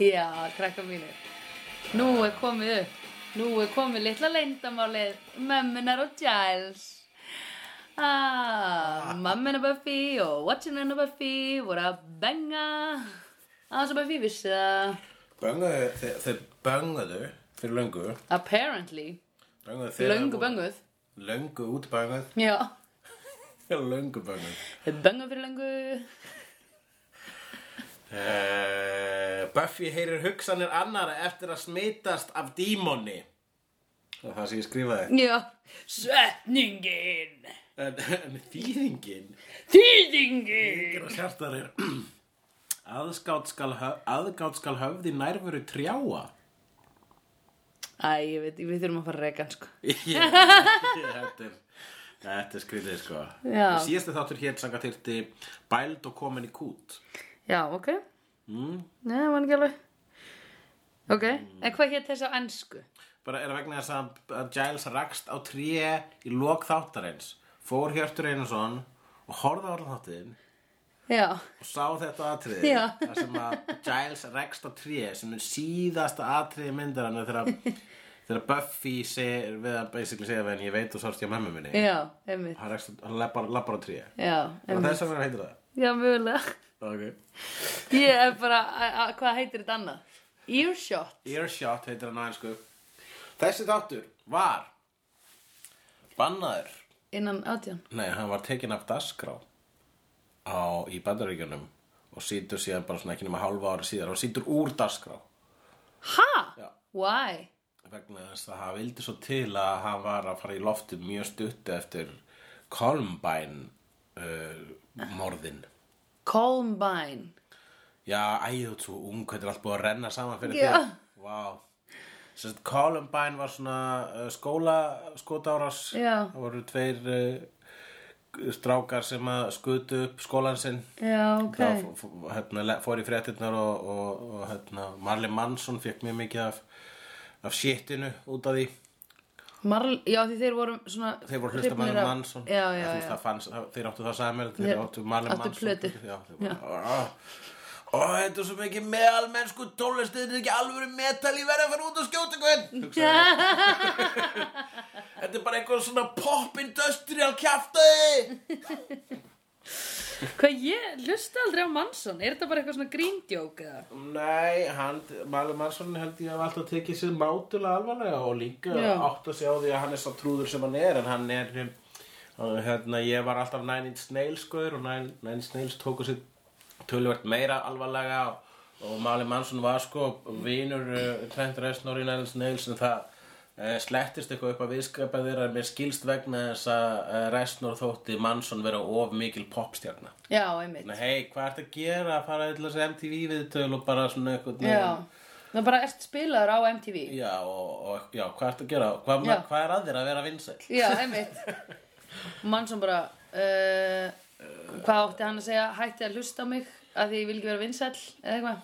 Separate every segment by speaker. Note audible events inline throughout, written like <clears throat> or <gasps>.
Speaker 1: Já, krakka mínir. Nú er komið upp. Nú er komið litla leyndamálið Mömmunar og Giles. Ah, mammin og Buffy og Watchin' and Buffy voru að benga. Aðeins og Buffy vissi það.
Speaker 2: Bönguðu, þeir, þeir bönguðu fyrir löngu.
Speaker 1: Apparently.
Speaker 2: Bönguðu
Speaker 1: Löngu bönguð.
Speaker 2: Löngu út bönguð.
Speaker 1: Já.
Speaker 2: <laughs> löngu bönguð.
Speaker 1: Þeir Bönguð fyrir löngu.
Speaker 2: Uh, Buffy heyrir hugsanir annara eftir að smitast af dímoni. Það er það sem ég skrifaði.
Speaker 1: Já. Setningin.
Speaker 2: En, en þýðingin
Speaker 1: Þýðingin.
Speaker 2: er að hjartar er <clears throat> aðgátt skal, höf, aðgát skal höfði nærveru trjáa. <laughs>
Speaker 1: Æ, ég veit, við þurfum að fara að reka hann sko.
Speaker 2: Ég- þetta er þetta er skrýðið sko
Speaker 1: Já.
Speaker 2: síðasti þáttur hér sanga tilti bæld og komin í kút
Speaker 1: Já, ok.
Speaker 2: mm.
Speaker 1: Nei, það var ekki alveg Ok, en hvað hétt þessi á ennsku?
Speaker 2: bara er vegna þess að, að Giles rakst á tré í lok þáttarins fór Hjörtur Einarsson og horfði á allan þáttin
Speaker 1: Já,
Speaker 2: og sá þetta atriði
Speaker 1: Já.
Speaker 2: þar sem að Giles rakst á tré sem er síðasta atriði myndarinn þegar þegar Buffy segir við að basically segja við henni ég veit þú sást ég á mömmu minni
Speaker 1: já, einmitt
Speaker 2: hann, rakst, hann lappar, lappar á tré
Speaker 1: Já,
Speaker 2: og
Speaker 1: einmitt
Speaker 2: þess að vera heitir það
Speaker 1: Já, mögulega
Speaker 2: okay.
Speaker 1: Ég er bara, a- a- hvað heitir þetta annað? Earshot
Speaker 2: Earshot heitir hann aðeins sko Þessi þáttur var Bannaður
Speaker 1: innan átján
Speaker 2: Nei, hann var tekinn af dagskrá á, Í bandaríkjunum Og sýtur síðan bara svona ekki nema hálfa ára síðar Og sýtur úr dagskrá
Speaker 1: Ha?
Speaker 2: Já.
Speaker 1: Why?
Speaker 2: Vegna þess að hann vildi svo til að hann var að fara í loftið mjög stutt Eftir Columbine uh, Morðin
Speaker 1: Columbine
Speaker 2: Já, æ, þú ert svo ung, þetta er allt búið að renna saman fyrir
Speaker 1: Já.
Speaker 2: þér. Vá. Sérst, Columbine var svona uh, skóla skotárás.
Speaker 1: Já.
Speaker 2: Það voru tveir uh, strákar sem að skutu upp skólan sinn.
Speaker 1: Já, ok
Speaker 2: Það f- f- hérna, le- fór í fréttinnar og, og, og hérna, Marley Manson fekk mjög mikið af, af shitinu út af því.
Speaker 1: Marl, Já, því þeir voru um svona
Speaker 2: Þeir voru
Speaker 1: hrifnir
Speaker 2: hlusta Marley
Speaker 1: af-
Speaker 2: Manson.
Speaker 1: Já, já,
Speaker 2: Þú veist,
Speaker 1: já
Speaker 2: það fannst, það- þeir áttu það samir, þeir
Speaker 1: Þeir
Speaker 2: áttu Marley
Speaker 1: áttu
Speaker 2: Manson.
Speaker 1: plötu.
Speaker 2: Já, þeir voru, "Ah, Ó, þetta er svo mikið meðalmennsku tólest, þetta er ekki alvöru metal, ég verði að fara út og skjóta hvern. hugsaði ég. Þetta er bara einhver svona pop industrial kjaftaði.
Speaker 1: <laughs> Hvað ég hlusta aldrei á Manson? Er þetta bara eitthvað svona gríndjók eða?
Speaker 2: Nei, hann, Marley Manson held ég að alltaf tekið sér mátulega alvarlega og líka
Speaker 1: Já.
Speaker 2: átt að sjá því að hann er svo trúður sem hann er, en hann er, um, uh, hérna, ég var alltaf Nine Inch Nails skoður og Nine, Nine Inch Nails tóku sér tölvert meira alvarlega og, og Marley Manson var sko vinur uh, Trent Reznor í Nine Inch Nails en það uh, slettist eitthvað upp að viðskapa þeirra mér skilst vegna þess að uh, Reznor þótti Manson vera of mikil popstjarna.
Speaker 1: Já, einmitt
Speaker 2: Nei, hei, hvað ert að gera að fara til þessu MTV viðtöl og bara svona eitthvað
Speaker 1: Já, það bara ert spilaður á MTV
Speaker 2: já, og, og já, hvað ert að gera hvað,
Speaker 1: Já.
Speaker 2: hvað er að þér að vera vinsæl
Speaker 1: Já, einmitt Mannsson bara uh, Hvað átti hann að segja? Hætti að hlusta á mig að því ég vil ekki vera vinsæll eða eitthvað?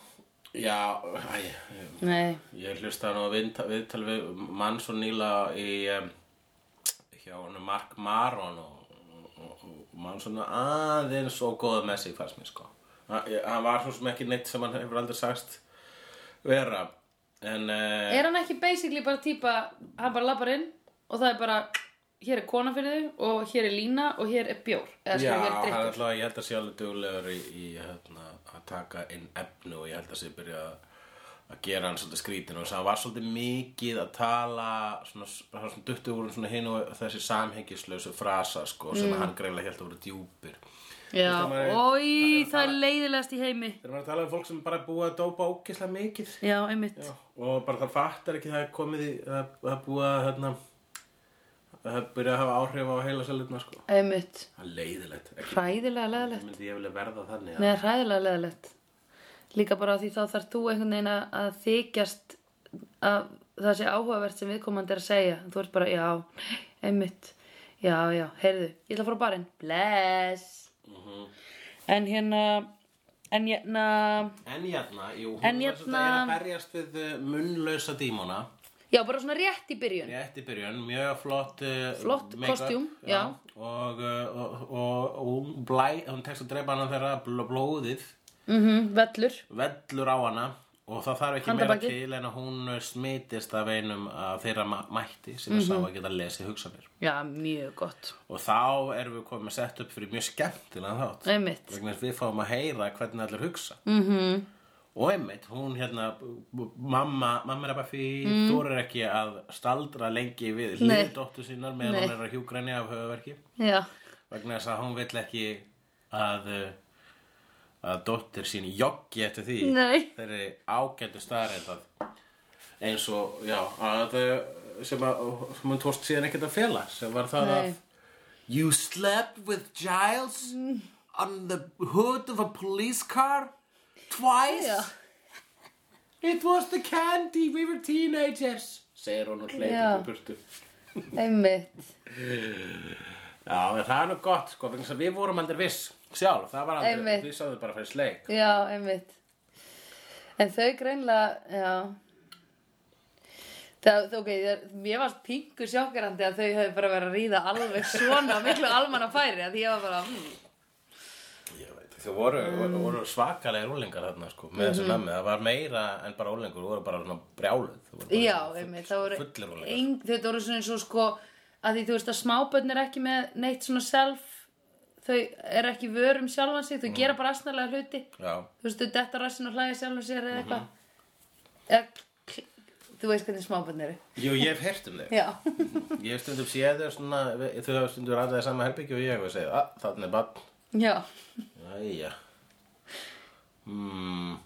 Speaker 2: já, æ,
Speaker 1: Nei,
Speaker 2: ég hlusta nú að viðta- viðtal við mann svo nýla í um, hjá honum Mark Maron og, og, og mann svona aðeins og góða með sig fannst mér sko Ha- ég- hann var svo sem ekki neitt sem hann hefur aldrei sagst vera en uh,
Speaker 1: er hann ekki basically bara típa hann bara labbar inn og það er bara hér er kona fyrir þig og hér er lína og hér er bjór eða
Speaker 2: Já,
Speaker 1: sko hér er
Speaker 2: hann er
Speaker 1: drikkur
Speaker 2: alltaf, ég held að sé alveg duglegur í, í hérna, að taka inn efni og ég held að sé byrja að, að gera hann svolítið skrítin og þess að hann var svolítið mikið að tala svona, svona, svona duttu úr svona hinn og þessi samhengislausu frasa sko, sem hann greinlega held að voru djúpir
Speaker 1: Já,
Speaker 2: Þú veist, maður er-
Speaker 1: oi, það er leiðilegast í heimi
Speaker 2: Þegar maður er að tala um fólk sem bara er búið að dópa ókislega mikið sko,
Speaker 1: Já, einmitt
Speaker 2: og bara það fattar ekki það er komið í, það það er búið að hérna, það er byrjað að hafa áhrif á heila sælutna sko
Speaker 1: Einmitt,
Speaker 2: Það er leiðilegt, ekki
Speaker 1: hræðilega leiðilegt
Speaker 2: myndi ég vilja verða þannig að
Speaker 1: Nei, hræðilega leðilegt. Líka bara því þá þarf þú einhvern veginn að- að þykjast að það sé áhugavert sem viðkomandi er að segja. Þú ert bara, já, nei, einmitt, já, já, heyrðu, ég ætla að fara á barinn. Bless! En hérna, en hérna,
Speaker 2: En hérna, jú, hún
Speaker 1: En
Speaker 2: er
Speaker 1: hérna-
Speaker 2: svolítið að berjast við uh, munnlausa dímona
Speaker 1: já, bara svona rétt í byrjun.
Speaker 2: rétt í byrjun, mjög flott uh,
Speaker 1: Flott
Speaker 2: make-up,
Speaker 1: kostjúm, já.
Speaker 2: og, uh, og, og, og hún, blæ, hún tekst að dreipa hana þegar bl- blóðið
Speaker 1: Mhm, vellur.
Speaker 2: vellur á hana og það þarf ekki meira
Speaker 1: Handabaki.
Speaker 2: til en að hún smitist af einum af þeirra ma- mætti sem er sá
Speaker 1: Mhm.
Speaker 2: að geta lesið hugsanir
Speaker 1: já, mjög gott
Speaker 2: og þá erum við komið að setja upp fyrir mjög skemmtilega þátt
Speaker 1: einmitt, Mhm.
Speaker 2: vegna þess að við fáum að heyra hvernig allir hugsa mm -hmm. og einmitt, hún hérna b- b- mamma, mamma er að baffi mm. þorir ekki að staldra lengi við
Speaker 1: Nei.
Speaker 2: liðdóttu sínar meðan
Speaker 1: Nei.
Speaker 2: hún er að hjúgræni af höfuverki
Speaker 1: já
Speaker 2: vegna þess að hún vill ekki að uh, að dóttir sín joggi eftir því
Speaker 1: Nei.
Speaker 2: þeirri ágættu starrið eins og, já, að uh, sem, að, sem hún tóst síðan ekkert að fela sem var það
Speaker 1: Nei.
Speaker 2: að You slept with Giles on the hood of a police car twice
Speaker 1: Já.
Speaker 2: It was the candy, we were teenagers segir hún og
Speaker 1: Já.
Speaker 2: hleypur í burtu
Speaker 1: einmitt,
Speaker 2: Já, en það er nú gott, sko, vegna þess að við vorum aldrei viss sjálf, það var aldrei,
Speaker 1: Einmitt.
Speaker 2: við sáðum bara fyrir sleik.
Speaker 1: já, einmitt en þau greinlega já Það, það- ok, það, ég varst pingu sjokkarandi að þau hefði bara verið að ríða alveg svona miklu almanna færi að ég var bara, mm,
Speaker 2: Ég veit, þau voru, voru, voru svakalega úlingar þarna, sko, með þessu
Speaker 1: Mhm.
Speaker 2: nammi, það var meira en bara úlingur, þau voru bara svona brjáluð. þau voru bara
Speaker 1: Já,
Speaker 2: full-
Speaker 1: einmitt, það voru
Speaker 2: Fullir úlingar.
Speaker 1: eng, þetta voru svona eins og sko að því þú veist að smábönn er ekki með neitt svona self þau er ekki vörum sjálfan sig, þau
Speaker 2: Mm.
Speaker 1: gera bara asnalega hluti
Speaker 2: Já,
Speaker 1: þú veist, þau detta rassin og hlæja sjálfan sér
Speaker 2: Mhm.
Speaker 1: eða eitthvað eða, kl- þú veist hvernig smábönn eru
Speaker 2: jú, ég hef heyrt um þau.
Speaker 1: já, <laughs>
Speaker 2: Ég hef stundum séð þau svona, við- þau hafa stundum ræðið sama herbyggju og ég hef að segja, að, þarna er bann,
Speaker 1: já
Speaker 2: æja. Mm,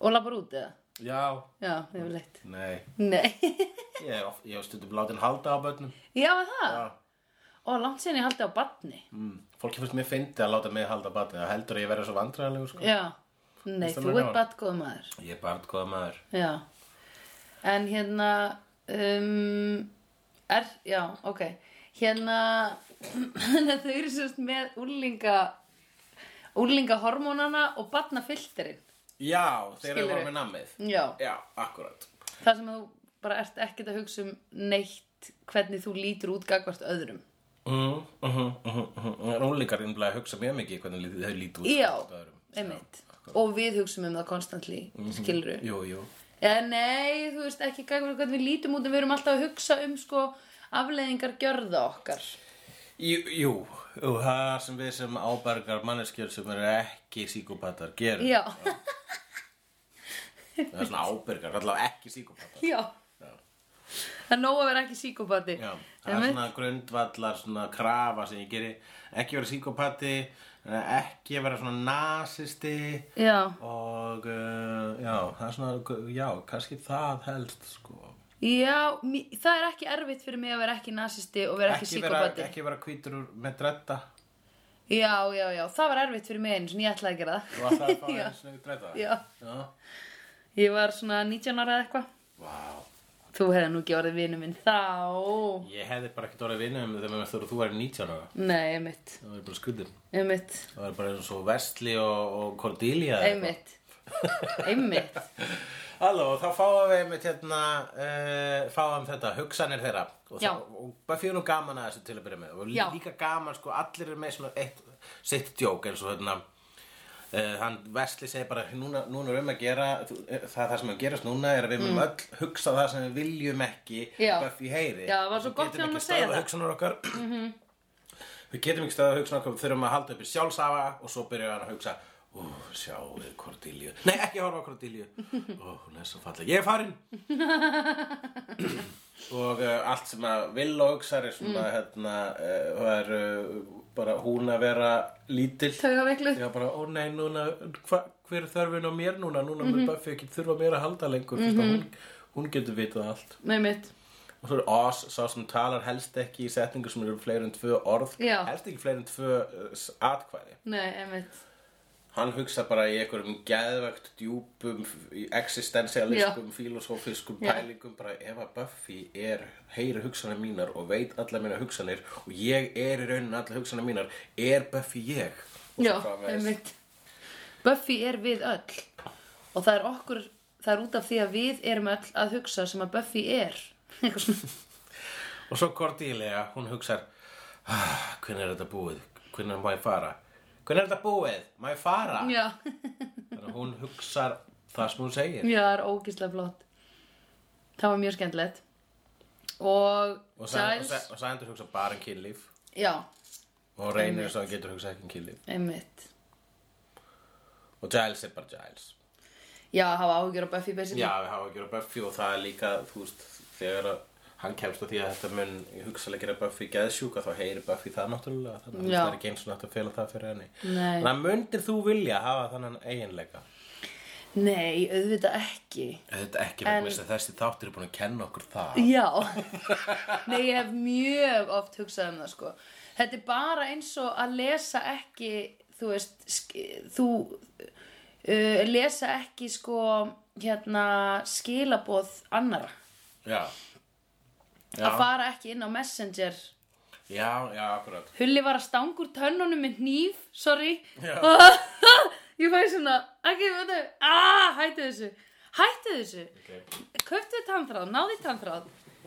Speaker 1: og labbar út eða,
Speaker 2: já,
Speaker 1: já, ég hef leitt
Speaker 2: nei,
Speaker 1: nei, <laughs>
Speaker 2: ég hef oft- ég hef stundum látin halda á bönnum.
Speaker 1: já er það
Speaker 2: Já.
Speaker 1: og langt síðan ég haldi á barni
Speaker 2: Mm. Fólki finnst mér fyndi að láta mig halda batni Það heldur að ég verði svo vandræðalegu sko.
Speaker 1: já, nei,
Speaker 2: Finnst það
Speaker 1: þú
Speaker 2: mér
Speaker 1: ert
Speaker 2: gaman?
Speaker 1: barngóð maður
Speaker 2: Ég er barngóða maður
Speaker 1: Já, en hérna, um, er, já, ok, hérna, <clears throat> þau eru sérst með úrlinga, úrlinga hormónana og batnafilterinn.
Speaker 2: Já, þeir eru
Speaker 1: Skilurðu?
Speaker 2: bara með nammið
Speaker 1: Já,
Speaker 2: Já, akkurat
Speaker 1: það sem þú bara ert ekkert að hugsa um neitt hvernig þú lítur út gagvart öðrum.
Speaker 2: mm, uh -huh, uh -huh, uh -huh. Rúlingar innblæði að hugsa mjög mikið hvernig lítið þau lítu út
Speaker 1: Já,
Speaker 2: gagnvart öðrum.
Speaker 1: einmitt. Og við hugsaum um það konstantli,
Speaker 2: Mhm.
Speaker 1: skilru.
Speaker 2: Jú, jú
Speaker 1: Eða nei, þú veist ekki gagvart hvernig við lítum út en við erum alltaf að hugsa um sko afleiðingar gjörða okkar.
Speaker 2: Jú, jú, jú, það sem við sem ábergar manneskjör sem eru ekki síkópatar gerum
Speaker 1: Já,
Speaker 2: Það er svona ábergar, allavega ekki síkópatar
Speaker 1: já.
Speaker 2: Já.
Speaker 1: Það er nóg að vera ekki síkópati.
Speaker 2: Já, það er
Speaker 1: Einmitt.
Speaker 2: svona grundvallar svona krafa sem ég geri ekki vera síkópati eh, ekki vera svona nasisti
Speaker 1: Já,
Speaker 2: og uh, já, það er svona já, kannski það helst sko
Speaker 1: já mí- það er ekki erfitt fyrir mig að vera ekki nasisti og vera ekki,
Speaker 2: vera,
Speaker 1: síkópati.
Speaker 2: ekki vera hvítur úr- með dretta
Speaker 1: Já, já, já, það var erfitt fyrir mig einu sinni, ég ætlaði að gera
Speaker 2: og
Speaker 1: <laughs>
Speaker 2: að það
Speaker 1: það.
Speaker 2: fá
Speaker 1: já.
Speaker 2: eins og dretta
Speaker 1: já,
Speaker 2: já.
Speaker 1: ég var svona 19 ára eða eitthvað.
Speaker 2: Vá.
Speaker 1: Þú hefði nú ekki orðið vinur minn þá.
Speaker 2: ég hefði bara ekkert orðið vinnu um þegar þú- þú væri 19 ára
Speaker 1: Nei, einmitt,
Speaker 2: það var bara skuldin
Speaker 1: einmitt,
Speaker 2: það var bara eins og Vestli og, og Cordelia eða eitthvað.
Speaker 1: einmitt, einmitt.
Speaker 2: Halló, þá fáum við einmitt hérna, uh, fáum þetta hugsanir þeirra og,
Speaker 1: Já.
Speaker 2: það, og bara fyrir nú gaman að þessu til að byrja með og
Speaker 1: Já.
Speaker 2: líka gaman sko, allir eru með svona eitt, sitt djók eins og hérna uh, hann Vesli segir bara núna, núna erum við um að gera, þú, eh, það, það sem er að gerast núna er að við munum öll hugsa það sem við viljum ekki
Speaker 1: Mm. Já.
Speaker 2: Buffy heyri
Speaker 1: Já, það var svo
Speaker 2: Við
Speaker 1: gott
Speaker 2: getum
Speaker 1: hjá honum
Speaker 2: ekki
Speaker 1: að segja það. Mhm.
Speaker 2: stöðvað hugsanir okkar Við getum ekki stöðað að hugsa okkur, við þurfum að halda upp í sjálfsafa og svo byrjuðu hann að hugsa Ú, sjáuðu Cordelia Nei, ekki horfa á Cordelia Ó, hún er svo falleg Ég er
Speaker 1: <laughs>
Speaker 2: farin Og uh, allt sem að vill og hugsar er svona,
Speaker 1: Mm.
Speaker 2: hérna, uh, það er uh, bara hún að vera lítill
Speaker 1: Taugaveikluð.
Speaker 2: Já, bara, ó nei, núna, hva, hver er þörfin á mér núna? Núna
Speaker 1: Mhm.
Speaker 2: mm -hmm. Buffy ekki þurfa mér að halda lengur mm hún, hún getur vitað allt
Speaker 1: Einmitt,
Speaker 2: Og svo er Oz, sá sem talar helst ekki í setningu sem eru fleiri en tvö orð
Speaker 1: Já.
Speaker 2: Helst ekki fleiri en tvö uh, s- atkvæði
Speaker 1: nei, einmitt.
Speaker 2: Hann hugsa bara í einhverjum geðvögt djúpum, f- í existentialiskum, filosófiskum
Speaker 1: Já.
Speaker 2: pælingum bara ef að Buffy er, heyri hugsanir mínar og veit alla mína hugsanir og ég er í raunin alla hugsanir mínar er Buffy ég? Og svo
Speaker 1: Já,
Speaker 2: framvegis.
Speaker 1: einmitt Buffy er við öll og það er okkur, það er út af því að við erum öll að hugsa sem að Buffy er Eitthvað svona.
Speaker 2: Og svo Cordelia, hún hugsar "Ah, Hvenær er þetta búið? Hvenær má ég fara? Hvenær er þetta búið? Má ég fara?
Speaker 1: Já,
Speaker 2: Þannig að hún hugsar það sem hún segir
Speaker 1: <laughs> Já, það er ógislega flott. Það var mjög skemmtilegt. Og,
Speaker 2: og
Speaker 1: Giles-
Speaker 2: Sælendur hugsa bara um kynlíf
Speaker 1: Já,
Speaker 2: og hún reynir þess að hann getur hugsa ekki um kynlíf
Speaker 1: einmitt.
Speaker 2: og Giles er bara Giles
Speaker 1: Já, hafa áhugjur á Buffy basically.
Speaker 2: já, við hafa að gera Buffy og það er líka þú veist, þegar að hann kemst að því að þetta mun hugsalega gera Buffy geðsjúka þá heyri Buffy það náttúrulega þannig að
Speaker 1: Já.
Speaker 2: það er ekki eins og náttúrulega að fela það fyrir henni
Speaker 1: Nei.
Speaker 2: þannig að mundir þú vilja hafa þannan eiginleika
Speaker 1: Nei, auðvitað ekki.
Speaker 2: Þetta er ekki
Speaker 1: En-
Speaker 2: vegna þess að þessi þáttur er búin að kenna okkur það
Speaker 1: Já. <laughs> Nei, ég hef mjög oft hugsað um það, sko. Þetta er bara eins og að lesa ekki, þú veist, sk- þú, uh, lesa ekki, sko, hérna, skilaboð annara.
Speaker 2: Já
Speaker 1: Að
Speaker 2: Já,
Speaker 1: fara ekki inn á Messenger.
Speaker 2: já, já akkurat
Speaker 1: Hulli var að stanga úr tönnunum með hníf, sorry.
Speaker 2: Já.
Speaker 1: <laughs> ég fæði svona, ekki, veitu, aaa, hættu þessu, hættu þessu. Kauftu tannþráð, náði tannþráð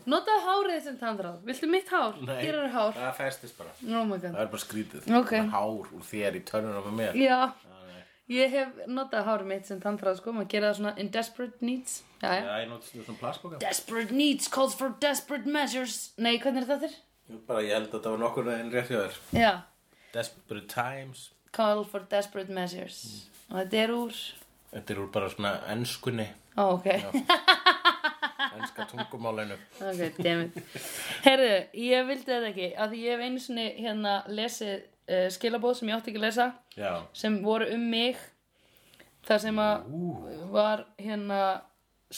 Speaker 1: Notaðu hárið sem tannþráð Viltu mitt hár?
Speaker 2: Nei,
Speaker 1: Hér eru hár
Speaker 2: Það festist bara
Speaker 1: Oh my
Speaker 2: Það
Speaker 1: god
Speaker 2: er bara skrítið
Speaker 1: Ok.
Speaker 2: Það er Hár úr þér í törnunum með mér
Speaker 1: Já,
Speaker 2: Já, Ah, nei.
Speaker 1: ég hef notað hárið mitt sem tannþráð sko Maður gera það svona in desperate needs
Speaker 2: Já,
Speaker 1: Jæja
Speaker 2: ég notist þetta um plastbóka
Speaker 1: Desperate needs calls for desperate measures Nei, hvernig er þetta þér?
Speaker 2: Ég bara, ég held að þetta var nokkur en rétt hjá þér
Speaker 1: Já,
Speaker 2: Desperate Times
Speaker 1: call for desperate measures Og þetta er úr
Speaker 2: Þetta er úr bara svona ennskunni
Speaker 1: Ó, ok <laughs>
Speaker 2: Ennska tungumálinu
Speaker 1: Ok, dammit. Herðu, ég vildi þetta ekki Af því ég hef einu sinni hérna lesið uh, skilabóð sem ég átti ekki að lesa
Speaker 2: Já
Speaker 1: sem voru um mig það sem að var hérna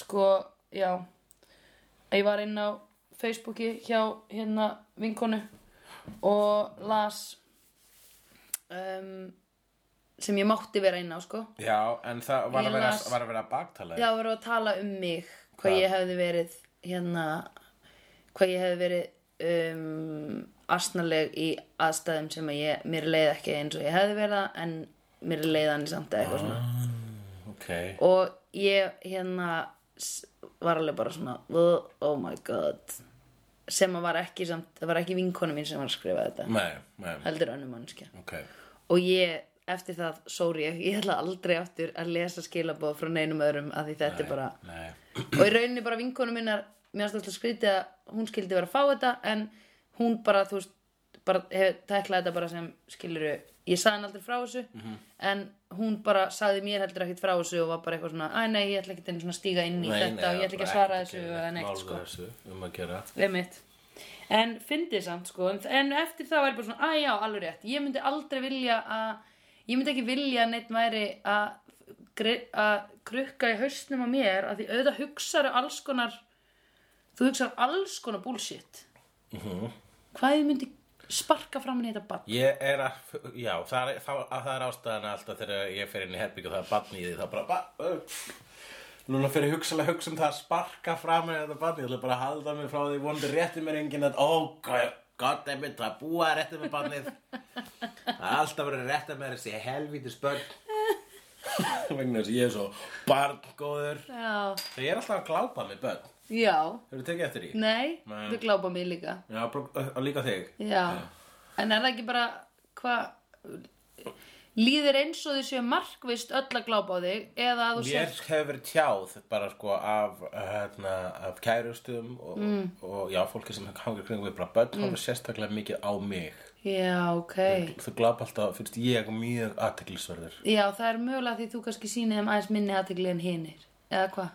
Speaker 1: sko, já ég var inn á Facebooki hjá hérna vinkonu og las um, sem ég mátti vera inn á sko
Speaker 2: Já, en það var
Speaker 1: Ég
Speaker 2: að vera,
Speaker 1: las-
Speaker 2: var að vera baktala
Speaker 1: já, voru að tala um mig hvað
Speaker 2: Hvað?
Speaker 1: ég hefði verið hérna hvað ég hefði verið um, asnaleg í aðstæðum sem að ég, mér leið ekki eins og ég hefði verið það en mér leið hann í samt eða eitthvað svona
Speaker 2: Ok
Speaker 1: og ég hérna s- var alveg bara svona "Ugh, oh my god sem að var ekki samt, það var ekki vinkonu mín sem var að skrifa þetta,
Speaker 2: Nei, nei,
Speaker 1: heldur önnum mannskja
Speaker 2: ok
Speaker 1: og ég, eftir það, sorry ég, ég ætla aldrei aftur að lesa skilabóð frá neinum öðrum að því þetta er bara
Speaker 2: Nei
Speaker 1: og í rauninni bara vinkonu minnar mér varst alltaf skrítið að hún skildi vera að fá þetta en hún bara, þú veist bara, hef, teklaði þetta bara sem skiluru ég sagði hann aldrei frá þessu en hún bara sagði mér heldur ekkert frá þessu og var bara eitthvað svona, að nei, ég ætla ekkert einu svona að stíga inn í þetta og ég ætla ekki að svara þessu eða neitt, sko,
Speaker 2: þessu um að gera
Speaker 1: emitt en fyndið samt, sko, en, en eftir það væri bara svona, að já, alveg rétt, ég myndi aldrei vilja að, ég myndi ekki vilja að neitt væri að gre- að krukka í hausnum á mér að því auðvitað hugsaðu alls konar þú hugsaðu alls konar bullshit hvað ég myndi sparka fram í þetta bann
Speaker 2: Ég er að, já, það er, það, það er ástæðan alltaf þegar ég fer inn í herbyggju og það er barn í því, þá bara, ba, uh, núna fyrir hugsalega hugsa um það að sparka fram með þetta barn, ég ætla bara að halda mig frá því, vonandi rétti mér enginn að, ó, god- goddammit, það er búið að rétti mér barnið, það er alltaf verið að rétta mér þessi helvítis börn, vegna þess að ég er svo barngóður,
Speaker 1: já,
Speaker 2: þegar ég er alltaf að glápa með börn,
Speaker 1: já,
Speaker 2: hefur tekið eftir því?
Speaker 1: nei,
Speaker 2: Nei.
Speaker 1: þú glápa mig líka
Speaker 2: Já, bara- og líka þig.
Speaker 1: já, en er það ekki bara hvað líður eins og þau séu markvist öll að glápa á þig eða að þú
Speaker 2: Mér
Speaker 1: sér
Speaker 2: hefur verið tjáð bara sko af, hérna, af kærustum og,
Speaker 1: Mm.
Speaker 2: og já, fólki sem hangar kringum við bara börn mm. hafa sérstaklega mikið á mig
Speaker 1: já, ok,
Speaker 2: Þau glapa alltaf, finnst ég mjög aðteklisverður
Speaker 1: já, það er mögulega því þú kannski sýnið þeim aðeins minni aðtegli en hinir eða hvað,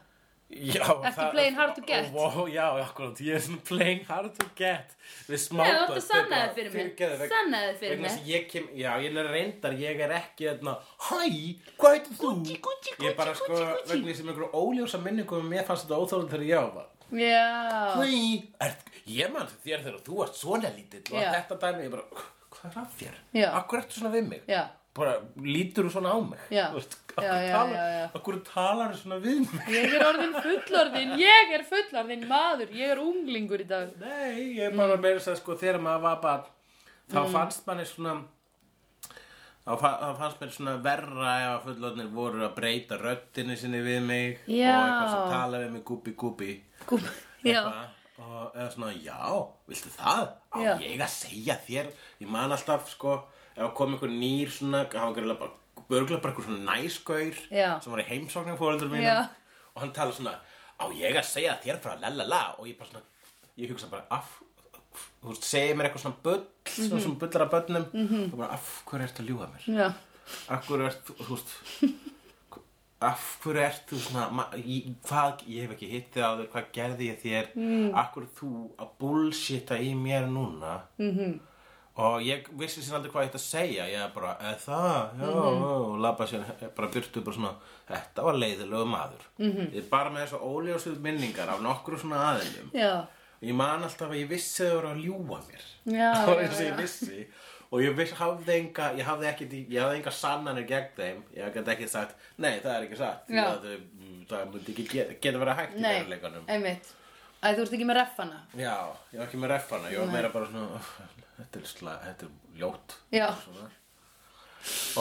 Speaker 2: Já,
Speaker 1: playing hard to get?
Speaker 2: og, og, Já, akkurat, ég er svona playing hard to get Við
Speaker 1: Nei,
Speaker 2: smáböld
Speaker 1: þú áttu að sanna þig fyrir mér. Sanna þig fyrir mér.
Speaker 2: Ég kem, já, ég er reyndar, ég er ekki þarna Hæ, hvað heitir þú?
Speaker 1: Gucci, Gucci,
Speaker 2: Ég er bara
Speaker 1: Gucci,
Speaker 2: sko,
Speaker 1: Gucci, Gucci.
Speaker 2: vegna sem einhverju óljósa minningum Mér fannst þetta óþólum þegar ég á það
Speaker 1: já
Speaker 2: Nei, er, ég mann þér þegar þú ert svona lítill og
Speaker 1: Já.
Speaker 2: þetta dæmi, ég bara, hvað er að þér?
Speaker 1: Já.
Speaker 2: Akkur ertu svona við mig?
Speaker 1: já,
Speaker 2: Bara, lítur þú svona á mig?
Speaker 1: Já.
Speaker 2: Þú veist,
Speaker 1: Já,
Speaker 2: akkur
Speaker 1: já,
Speaker 2: talar,
Speaker 1: já, já.
Speaker 2: Akkur talar þú svona við
Speaker 1: <laughs>
Speaker 2: mig?
Speaker 1: ég er orðin fullorðin ég er fullorðin maður, ég er unglingur í dag
Speaker 2: Nei, ég er
Speaker 1: Mm.
Speaker 2: bara meira að segja, sko, þegar maður var bara, þá fannst manni svona, þá fa- þá fannst mér svona verra ef að fullotnir voru að breyta röddinni sinni við mig
Speaker 1: Já.
Speaker 2: og eitthvað sem tala við mig gúbi gúbi.
Speaker 1: Gúm, já,
Speaker 2: eitthvað og eða svona, já, viltu það? Á
Speaker 1: Já.
Speaker 2: ég að segja þér? Ég man alltaf, sko, ef kom einhver nýr svona, hann var greiðlega bara örgulega bara eitthvað svona næskaur
Speaker 1: Já.
Speaker 2: sem var í heimsóknum fóreldur mínum
Speaker 1: Já.
Speaker 2: og hann talar svona á ég að segja þér frá lalala og ég bara svona ég hugsa bara af þú veist, segi mér eitthvað svona bull
Speaker 1: Mhm.
Speaker 2: svona, svona bullar af bönnum mm -hmm. og bara af hverju ertu að ljúga mér
Speaker 1: já,
Speaker 2: af hverju ert þú þú veist af hverju ert þú svona ma- í- hvað, ég hef ekki hitt þig áður hvað gerði ég þér mm. af hverju ert þú að bullshitta í mér núna mm -hmm. og ég vissi sér aldrei hvað ég ætti að segja ég bara, eða það, já og labba sér bara byrtu bara svona þetta var leiðilegu maður mm -hmm. ég er bara með þessu óljósuð minningar af nokkru svona aðilum
Speaker 1: já,
Speaker 2: og ég man alltaf að ég vissi að þau voru að ljúga mér <laughs>
Speaker 1: Já,
Speaker 2: það var
Speaker 1: já,
Speaker 2: eins og ég
Speaker 1: já.
Speaker 2: vissi og ég viss, hafði enga ég hafði, ekki, ég hafði enga sannanir gegn þeim ég hafði ekki sagt, nei það er ekki satt
Speaker 1: Já.
Speaker 2: það, mm, það myndi ekki geta, geta verið hægt í
Speaker 1: nei,
Speaker 2: veruleikanum
Speaker 1: einmitt. Æ, þú ert ekki með reffana.
Speaker 2: já, ég var ekki með refana ég var meira bara svona "Öff, þetta er, sla, þetta er ljótt
Speaker 1: Já,
Speaker 2: svona.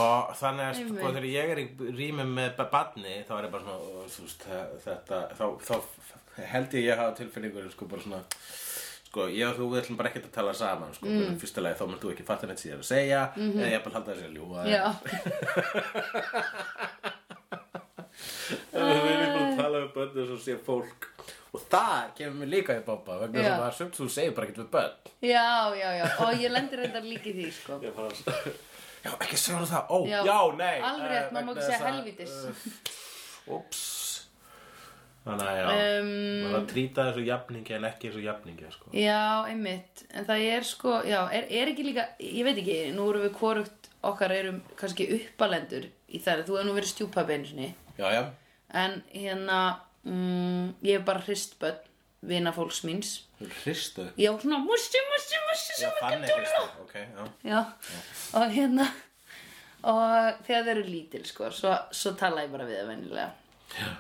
Speaker 2: og þannig að sko,
Speaker 1: Einmitt.
Speaker 2: þegar ég er í rými með badni þá er ég bara svona "Ó, þú veist, þa- þetta, þá, þá held ég að ég hafa tilfinningur sko bara svona sko ég og þú við ætlum bara ekkert að tala saman sko mm. fyrsta lagi þá myndir þú ekki fatta neitt sem ég er að segja eða ég er bara að halda þessi að ljúga
Speaker 1: Mhm. já,
Speaker 2: Þannig að við erum bara að tala við börn eins og sé fólk og það kemur mér líka í bópa vegna
Speaker 1: Já.
Speaker 2: þess að það er sumt sem þú segir bara ekkert við börn
Speaker 1: já, já, já. Og ég lendir reyndar líka í því, sko.
Speaker 2: Ég bara, <laughs> já, ekki segja hún það, ó, já,
Speaker 1: Já.
Speaker 2: nei Eh,
Speaker 1: Alveg rétt, maður má ekki segja helvítis. <laughs>
Speaker 2: Úps eh, Þannig að já,
Speaker 1: Um,
Speaker 2: maður að trýta þessu jafningi en ekki þessu jafningi, sko
Speaker 1: Já, einmitt, en það er sko, já, er, er ekki líka, ég veit ekki, nú erum við korugt okkar erum kannski uppalendur í þar, þú hefur nú verið stjúpabbi einu sinni,
Speaker 2: Já, já,
Speaker 1: en hérna, mm, ég er bara hristbönn, vina fólks míns,
Speaker 2: þú hristu
Speaker 1: já, svona, mussi, mussi, mussi,
Speaker 2: Já,
Speaker 1: sem ekki
Speaker 2: þannig hristu, ok, já
Speaker 1: Já, og hérna, og þegar þau eru lítil, sko, svo, svo tala ég bara við það venjulega. Já.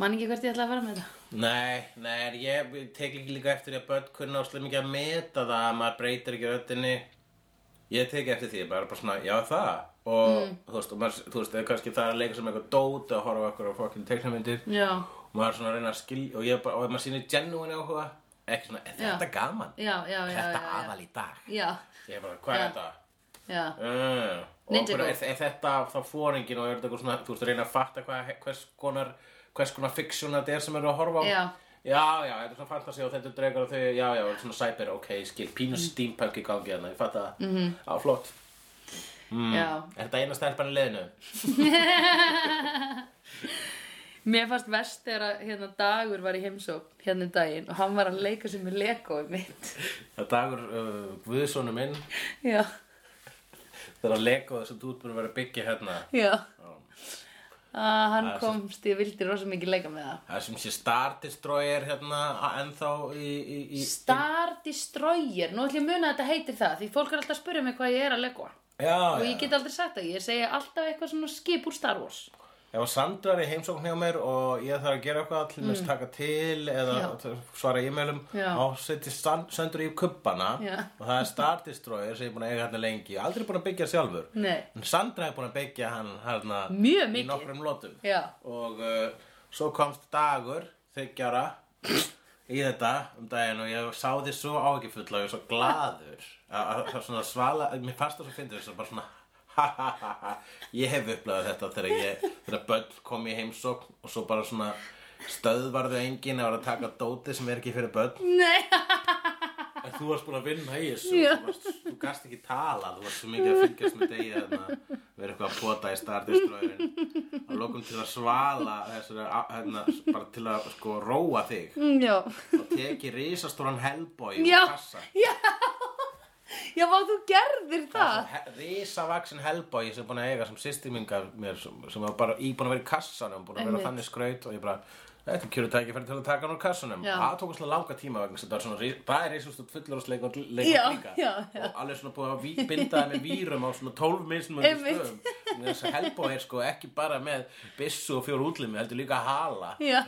Speaker 1: Man ekki hvert ég ætla að fara með þetta?
Speaker 2: Nei, nei, en ég ég tek líka líka eftir því að börn kunna og slum ekki að meta það að maður breytir ekki röddinni Ég tek eftir því, bara bara svona, já það og
Speaker 1: Mm.
Speaker 2: þú veist, og maður, þú veist, eða kannski það er að leika sem eitthvað dót að horfa okkur á fokkin teiknamyndir
Speaker 1: Já,
Speaker 2: og maður er svona að reyna að skilja og ég er bara, og ef maður sýnir genuine áhuga ekki svona, er þetta gaman?
Speaker 1: já, já, já, já,
Speaker 2: þetta <laughs>
Speaker 1: já,
Speaker 2: aðal í dag
Speaker 1: já,
Speaker 2: ég er bara, hvað er þetta?
Speaker 1: já,
Speaker 2: Mm. og
Speaker 1: Ninjago.
Speaker 2: bara, er, er þetta þá fóringin og er þetta eitthvað svona, þú veist að reyna að fatta hvað, hvers konar hvers konar fiksjón þetta er sem eru að horfa á
Speaker 1: Já.
Speaker 2: já, já, þetta er svona fantasi og þetta er dregur og þau, já, já, svona cyber, ok, ég skil
Speaker 1: Mm.
Speaker 2: pínu steampunk í gangi hérna, ég fatta það mm
Speaker 1: Mhm.
Speaker 2: -hmm. á, flott, Mm.
Speaker 1: já.
Speaker 2: er þetta eina stelpan í liðinu?
Speaker 1: Mér fannst verst þegar að hérna, Dagur var í heimsókn hérna um daginn og hann var að leika sér með legoið mitt.
Speaker 2: það er dagur uh, Guðssonu minn
Speaker 1: <laughs> já,
Speaker 2: þegar að leka þess að þú ert búin að vera að byggja hérna
Speaker 1: já. Ah, hann komst, ég vildi rosa mikið leika með það.
Speaker 2: Það sem sé Star Destroyer hérna a- ennþá í, í, í
Speaker 1: Star Destroyer, nú ætlum ég að muna að þetta heitir það því fólk er alltaf að spyrja mig hvað ég er að legoa.
Speaker 2: Já,
Speaker 1: Og
Speaker 2: já.
Speaker 1: ég get aldrei sagt það, ég segja alltaf eitthvað svona skip úr Star Wars.
Speaker 2: Ég var sandrar í heimsókn hjá mér og ég þarf að gera eitthvað til þess taka til eða svara e-mailum
Speaker 1: Mm. Já.
Speaker 2: og setja sandur í kubbana
Speaker 1: Já.
Speaker 2: og það er Star Destroyer sem ég er búin að eiga hérna lengi aldrei búin að byggja sjálfur
Speaker 1: Nei,
Speaker 2: en Sandra er búin að byggja hann hérna
Speaker 1: Mjög
Speaker 2: í
Speaker 1: mikið.
Speaker 2: nokkrum lotum
Speaker 1: já,
Speaker 2: og uh, svo komst dagur þryggjara í þetta um daginn og ég sá því svo áhyggjufull og ég var svo glaður að að- að svona svala, mér fannst það svo fyndið þess að bara svona ha ha ha ha ég hef upplegað þetta þegar ég þegar börn kom í heimsókn og svo bara svona stöðvarðu enginn að vera að taka dóti sem er ekki fyrir börn
Speaker 1: nei,
Speaker 2: en þú varst búin að vinna í þessu þú, varst, þú gast ekki tala, þú varst svo
Speaker 1: <laughs>
Speaker 2: mikið að fylgjast með degi að vera eitthvað að pota í startiströðin og lokum til að svala þessari, á- hérna, bara til að sko róa þig
Speaker 1: Mm, já,
Speaker 2: og teki risastóran hellbói úr
Speaker 1: já,
Speaker 2: kassa
Speaker 1: <laughs> já, já, vá, þú gerðir það.
Speaker 2: risavaksin hellbói sem er búin að eiga sem sýsti mín gaf mér sem, sem var bara í búin að vera í kassanum búin að vera
Speaker 1: Einmitt.
Speaker 2: þannig skraut og ég bara Þetta er kjöru tækifæri til að taka hann úr kassanum
Speaker 1: Já.
Speaker 2: Það tók svona langa tíma vegna þess að þetta var svona ris- Það er risastótt fullorðsleikur líka
Speaker 1: Já, já, já.
Speaker 2: Og alveg svona búið að ví- binda það með vírum á svona 12 misnum
Speaker 1: Einmitt.
Speaker 2: stöðum Þannig að Þessi hellbói er sko ekki bara með byssu og fjóru útlimi heldur líka hala
Speaker 1: Já,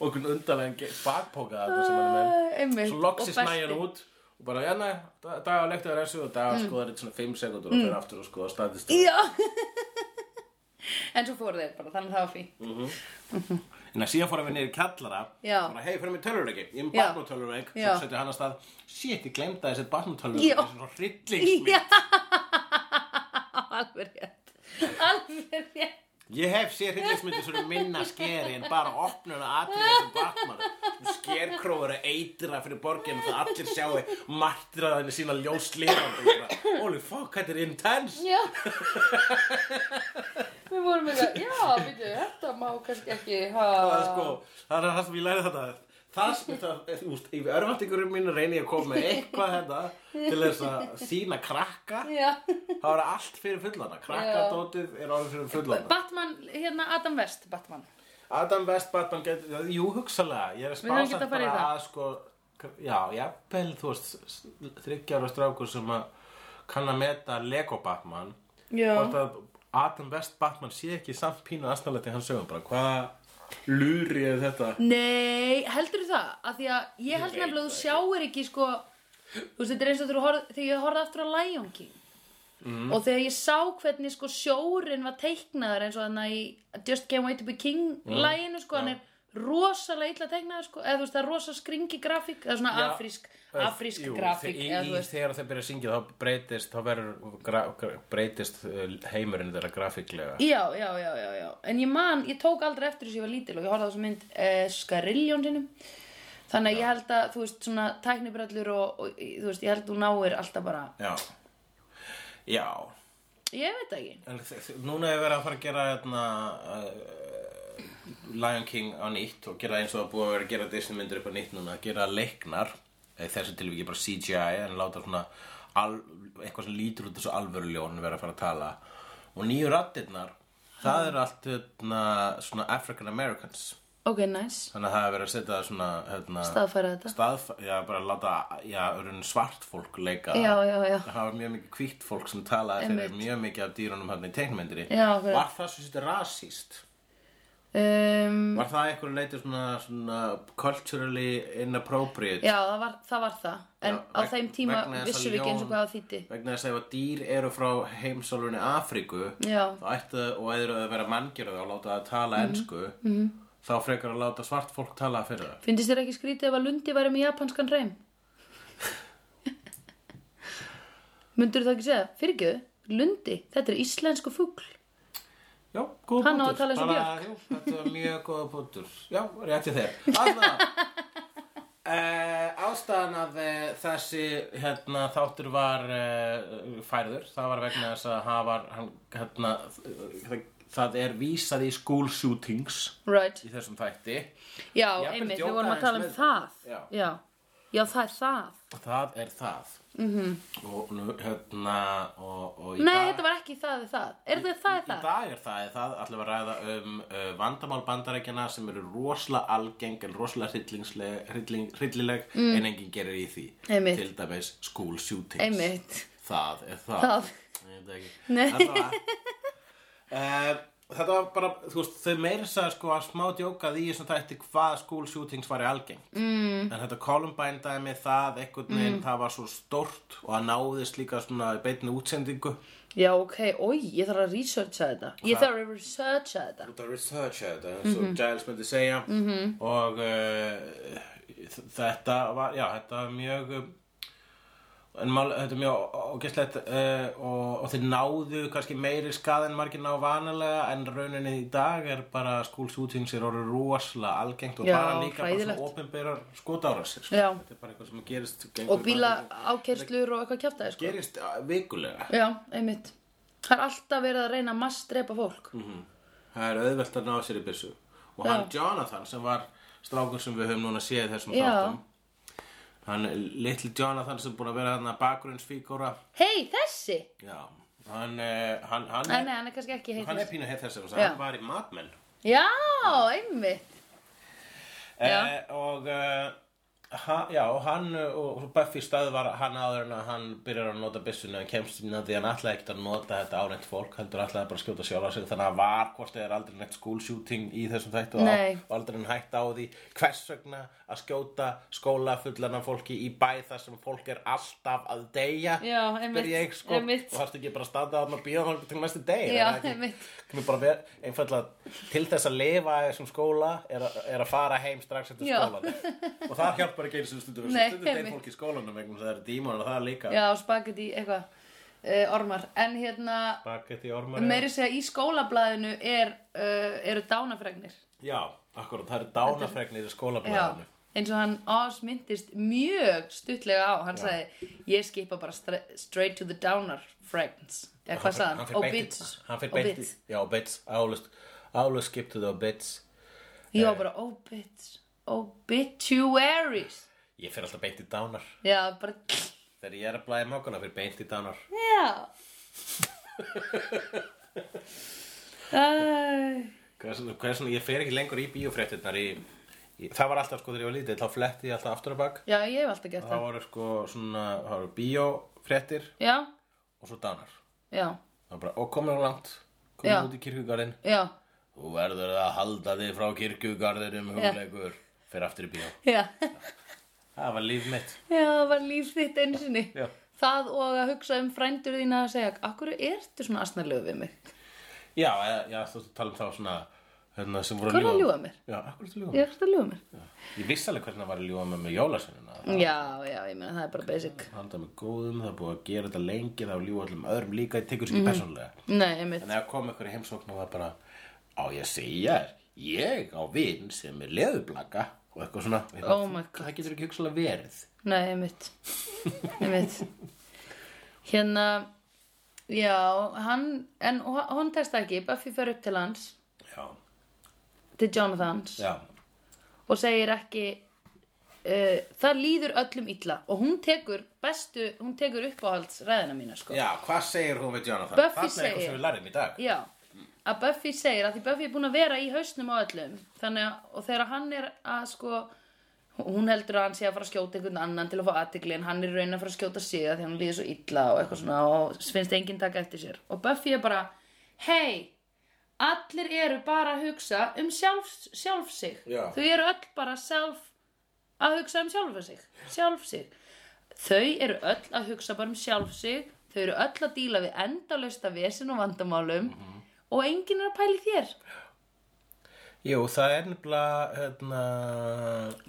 Speaker 2: og einhvern undanlegan ge- bakpoka þarna sem hann er með
Speaker 1: Æ, einmitt.
Speaker 2: svo loksist
Speaker 1: Og belti.
Speaker 2: næjan út og bara, já, nei, dag dag á lektu að resu og dag að skoða þetta svona 5 sekundur og fyrir aftur og skoða staðist
Speaker 1: Mm. Já En svo fóru þeir bara, þannig að það var fínt
Speaker 2: en að síðan fórum við niður í kjallara
Speaker 1: Já.
Speaker 2: bara, hei, fyrir mig tölvuleiki, ég er með
Speaker 1: Já.
Speaker 2: barnutölvuleik
Speaker 1: Já.
Speaker 2: svo setja hann að stað, shit, ég glemd að þessi
Speaker 1: Já.
Speaker 2: barnutölvuleik er svona hryllingsmynd
Speaker 1: Já <laughs> alveg rétt alveg rétt
Speaker 2: Ég hef séð hryllingsmyndir sem eru minna skeri en bara opnuna atriðið sem Batman skerkrófur að eitra fyrir borginu það allir sjáu martraðinu sína ljóslifandi Holy fuck, þetta er intense
Speaker 1: já við vorum eitthvað já, byrju, þetta má kannski ekki ha...
Speaker 2: það, er sko, það er það sem ég læri þetta það sem það, þú veist, í örvæntingurum mín reyni ég að koma með eitthvað þetta til þess að sína krakka
Speaker 1: já
Speaker 2: það er allt fyrir fullana krakkadótið er orðið fyrir fullana
Speaker 1: Batman, hérna Adam West Batman
Speaker 2: Adam West Batman getur, jú hugsalega, ég er að
Speaker 1: Við höfum
Speaker 2: spása
Speaker 1: getað farið í
Speaker 2: bara
Speaker 1: það.
Speaker 2: að sko, já, jafnvel, þú veist, þryggjára strákur sem að kann að meta Lego Batman, hvort að Adam West Batman sé ekki samt pínu aðstæðlega til hans sögum, bara hvað lúri er þetta?
Speaker 1: Nei, heldur það? Af því að ég held
Speaker 2: veit
Speaker 1: nefnilega að
Speaker 2: það
Speaker 1: þú sjáir ekki sko Þú veist, þetta er eins og þegar þú horf- þegar ég horfði aftur á Lion King
Speaker 2: Mm.
Speaker 1: Og þegar ég sá hvernig sko sjórin var teiknaður eins og þannig í Just Can't Wait to be King mm. læginu sko Hann
Speaker 2: já.
Speaker 1: er rosalega illa teiknaður sko Eða þú veist, það er rosa skringi grafík Eða svona
Speaker 2: Já,
Speaker 1: afrísk, afrísk grafík
Speaker 2: í,
Speaker 1: eða, þú
Speaker 2: í,
Speaker 1: veist.
Speaker 2: Þegar þau byrja að syngja þá breytist, þá verður gra, gra- breytist uh, heimurinn þeirra grafíklega
Speaker 1: Já, já, já, já, já En ég man, ég tók aldrei eftir þessu ég var lítil og ég horfði á þessu mynd eh, Skarilljón sinum Þannig að ég held að, þú veist, svona tæknibrellur og, og þú veist, ég held að þú náir alltaf bara
Speaker 2: Já, já
Speaker 1: Ég veit það ekki
Speaker 2: En þ- þ- núna hefur verið að fara að gera hérna, uh, Lion King á nýtt og gera eins og það er búið að vera að gera Disney myndir upp á nýtt núna, gera leiknar eða í þessu tilvíki bara CGI en láta svona al, eitthvað sem lítur út þessu alvöruljónu vera að fara að tala og nýju rattirnar það eru allt hérna, svona African Americans
Speaker 1: Ok, nice
Speaker 2: þannig að það er verið að setja svona hérna,
Speaker 1: Staðfæra þetta
Speaker 2: staðf, já, bara láta já, í rauninni svart fólk leika
Speaker 1: Já, já, já.
Speaker 2: það var mjög mikið hvítt fólk sem talaði fyrir
Speaker 1: Einmitt.
Speaker 2: mjög mikið af dýrunum hann í teiknmyndri
Speaker 1: Já, akkurat.
Speaker 2: var það svo sýtti rasíst
Speaker 1: um,
Speaker 2: var það eitthvað leiti svona, svona culturally inappropriate
Speaker 1: Já, það var það, var það. En
Speaker 2: Já,
Speaker 1: á
Speaker 2: veg-
Speaker 1: þeim tíma
Speaker 2: vegna þess að
Speaker 1: vissum við ekki eins og
Speaker 2: ljón-
Speaker 1: hvað það þýtti
Speaker 2: vegna þess að ef að dýr eru frá heimsálfunni Afríku
Speaker 1: Já,
Speaker 2: þá ættu og eður að vera manngjörðu og láta það tala
Speaker 1: Mhm.
Speaker 2: ensku -hmm. þá frekar að láta svart fólk tala fyrir það
Speaker 1: finnst þér ekki skrítið ef að Lundi væri með japanskan reym? <laughs> Mundur það ekki segja? Fyrirgjöðu, Lundi, þetta er íslensku fugl
Speaker 2: Já, góð
Speaker 1: Hann á að
Speaker 2: punktur.
Speaker 1: tala eins og
Speaker 2: Bara, jú, Þetta var mjög góð punktur. Já, rétti þér.
Speaker 1: <laughs>
Speaker 2: Anna, uh, ástæðan að uh, þessi hérna, þáttur var uh, færður, það var vegna þess að hann var, hann, hérna, það, það er vísað í school shootings
Speaker 1: Right,
Speaker 2: í þessum þætti.
Speaker 1: já,
Speaker 2: Jafnvel
Speaker 1: einmitt,
Speaker 2: djóka
Speaker 1: við vorum að
Speaker 2: aðeins
Speaker 1: tala um
Speaker 2: með
Speaker 1: það
Speaker 2: Já.
Speaker 1: já, já það er það
Speaker 2: Það er það. -hmm. Og nú, hérna, og, og í
Speaker 1: Mhm. Nei,
Speaker 2: dag...
Speaker 1: þetta var ekki það er það Er það það er
Speaker 2: Í
Speaker 1: það?
Speaker 2: dag er það, er það ætlum við að ræða um uh, vandamál bandarækjana sem eru rosalega algeng en rosalega hryllingsleg- hrylling- hryllileg en enginn gerir í því.
Speaker 1: Mm. Einmitt.
Speaker 2: Til dæmis school shootings.
Speaker 1: Einmitt,
Speaker 2: Það er það.
Speaker 1: það
Speaker 2: Ég veit það ekki.
Speaker 1: Nei.
Speaker 2: Allavega. Eh, Þetta var bara, þú veist, þau meira sagði sko að smá djókað í þessum þætti hvað school shootings var í algengt. Mm. En þetta Columbine dæmi, það einhvern
Speaker 1: Mm.
Speaker 2: veginn, það var svo stort og það náðist líka svona í beinni útsendingu.
Speaker 1: Já, ok, oi, ég þarf að researcha þetta Ég þarf að researcha þetta
Speaker 2: út að researcha þetta eins og
Speaker 1: Mhm.
Speaker 2: Giles myndi segja -hmm. og uh, þ- þetta var, já, þetta var mjög um, en mál, þetta er mjög ógæslegt uh, og, og þeir náðu kannski meiri skað en margir ná vanalega en rauninni í dag er bara skúlsútings er orðið rosalega algengt og
Speaker 1: Já,
Speaker 2: bara líka bara
Speaker 1: hræðilegt.
Speaker 2: svona opinberar skotárasir sko.
Speaker 1: Já.
Speaker 2: þetta er bara eitthvað sem gerist gengur
Speaker 1: Og
Speaker 2: bara-
Speaker 1: bíla ákerslur og eitthvað kjaftaði sko.
Speaker 2: gerist uh, vikulega
Speaker 1: Já, einmitt Það er alltaf verið að reyna að massdrepa fólk
Speaker 2: Mm. Það er auðvelt að ná sér í byssu Og hann Jonathan sem var strákur sem við höfum núna séð í þessum
Speaker 1: Já.
Speaker 2: þáttum Hann, litli Jonathan sem er búin að vera þarna bakgrunnsfígóra
Speaker 1: Hei, þessi?
Speaker 2: Já, hann, eh, hann, hann,
Speaker 1: Nei, nei, hann er kannski ekki
Speaker 2: er, hann
Speaker 1: heitir
Speaker 2: er pínu heið þessum
Speaker 1: Já.
Speaker 2: Hann var í Mad Men
Speaker 1: Já, einmitt Já.
Speaker 2: eh, Og eh, hann, já, og hann eh, og Buffy stöðvar hann áður en að hann byrjar að nota byssuna en kemst inn að því hann ætlaði ekkert að nota þetta áreint fólk heldur ætlaði bara að skjóta sjálfa sig þannig að var hvort eða er aldrei neitt school shooting í þessum þættu og
Speaker 1: Nei.
Speaker 2: og aldrei hann hægt á því hvers vegna að skjóta skóla fullana fólki í bæ þar sem fólk er alltaf að deyja
Speaker 1: Já, einmitt,
Speaker 2: spyr ég, sko,
Speaker 1: einmitt.
Speaker 2: og þarfst ekki bara að standa þarna og býða þarna til næstu deg
Speaker 1: Já,
Speaker 2: er það ekki-
Speaker 1: einmitt.
Speaker 2: Kemur bara ver, einfallega til þess að lifa í þessum skóla er, að- er að fara heim strax eftir
Speaker 1: Já.
Speaker 2: skólan
Speaker 1: <laughs>
Speaker 2: og það hjálpar ekki einu sem stundum
Speaker 1: Nei,
Speaker 2: stundum deyr
Speaker 1: einmitt.
Speaker 2: fólk í skólanum vegna þess að það eru dímonar og það líka
Speaker 1: Já, spagetti, eitthvað uh, ormar en hérna
Speaker 2: Spagetti ormar eða-
Speaker 1: meiri segja í skólablaðinu er, uh, eru dánafregnir
Speaker 2: Já, akkurat, það eru dánafregnir í skólablaðinu
Speaker 1: Já, eins og hann Oz myndist mjög stuttlega á hann sagði, ég skipa bara stra straight to the downer friends eða hvað sagði hann,
Speaker 2: fer beint í-
Speaker 1: obits
Speaker 2: Hann fyrir beint í-
Speaker 1: obits,
Speaker 2: Já, obits, álust Álust skiptu þau obits
Speaker 1: ég var bara obits obituaries
Speaker 2: Ég fyrir alltaf beint í dánar
Speaker 1: já, bara,
Speaker 2: Þegar ég er að blæja mákana fyrir beint í dánar <laughs>
Speaker 1: já Æ,
Speaker 2: Hvers hvers vegna, ég fer ekki lengur í bíófréttirnar í, í, Það var alltaf sko þegar ég var lítið Þá fletti ég alltaf aftur á bak
Speaker 1: já, ég hef alltaf gert
Speaker 2: Það
Speaker 1: það
Speaker 2: voru sko svona, það voru bíófréttir
Speaker 1: já,
Speaker 2: Og svo dánar
Speaker 1: já,
Speaker 2: Það var bara, og komum langt
Speaker 1: Já.
Speaker 2: Komum út í kirkugarðin
Speaker 1: já
Speaker 2: Þú verður að halda þig frá kirkugarðinum hugleikur Fyrir aftur í bíó
Speaker 1: <laughs> já,
Speaker 2: Það var líf mitt
Speaker 1: já, það var líf þitt einsinni
Speaker 2: Já.
Speaker 1: það og að hugsa um frændur þína að segja, akkur ertu svona asnalegu við mig
Speaker 2: Já, eða, já, þú ert að tala um þá svona hérna, sem voru
Speaker 1: Hvað er að ljúga
Speaker 2: mér?
Speaker 1: mér?
Speaker 2: Já, akkur að ljúga
Speaker 1: Ég er alltaf að ljúga mér.
Speaker 2: mér? Ég vissi alveg hvernig það var að ljúga mér með jólasennina
Speaker 1: Já, já, ég meina það er bara basic.
Speaker 2: Halda mig góðum, það er búið að gera þetta lengi Það var að ljúga allum öðrum líka, ég tekur sér
Speaker 1: Mm.
Speaker 2: ekki persónulega
Speaker 1: Nei, einmitt.
Speaker 2: En ef kom ykkur í heimsókn og það bara Á ég að segja þér, ég á vin sem er leðublaka Og eitthvað svona
Speaker 1: Oh my god.
Speaker 2: Það getur ekki hugsalega verið
Speaker 1: Nei, einmitt. einmitt. Hérna, já, hann, en hún testa ekki, Buffy fer upp til hans,
Speaker 2: Já,
Speaker 1: til Jonathans
Speaker 2: já,
Speaker 1: og segir ekki, uh, það líður öllum illa og hún tekur bestu, hún tekur uppáhaldsræðina mína, sko.
Speaker 2: já, hvað segir hún við Jonathan?
Speaker 1: Buffy
Speaker 2: Þarna er eitthvað
Speaker 1: segir-
Speaker 2: sem við lærðum í dag
Speaker 1: Já, að Buffy segir að því Buffy er búin að vera í hausnum á öllum þannig að og þegar hann er að sko hún heldur að hann sé að fara að skjóta einhvern annan til að fá aðtikli en hann er í raun að fara að skjóta sig af því að hann líður svo illa og eitthvað svona og finnst enginn taka eftir sér og Buffy er bara hei, allir eru bara að hugsa um sjálf, sjálf sig
Speaker 2: Já.
Speaker 1: þau eru öll bara sjálf að hugsa um sjálfa sig sjálf sig þau eru öll að hugsa bara um sjálf sig þau eru öll að díla við endalausta vesen og vandamálum og enginn er að pæli þér
Speaker 2: Jú, það er nefnilega, hérna,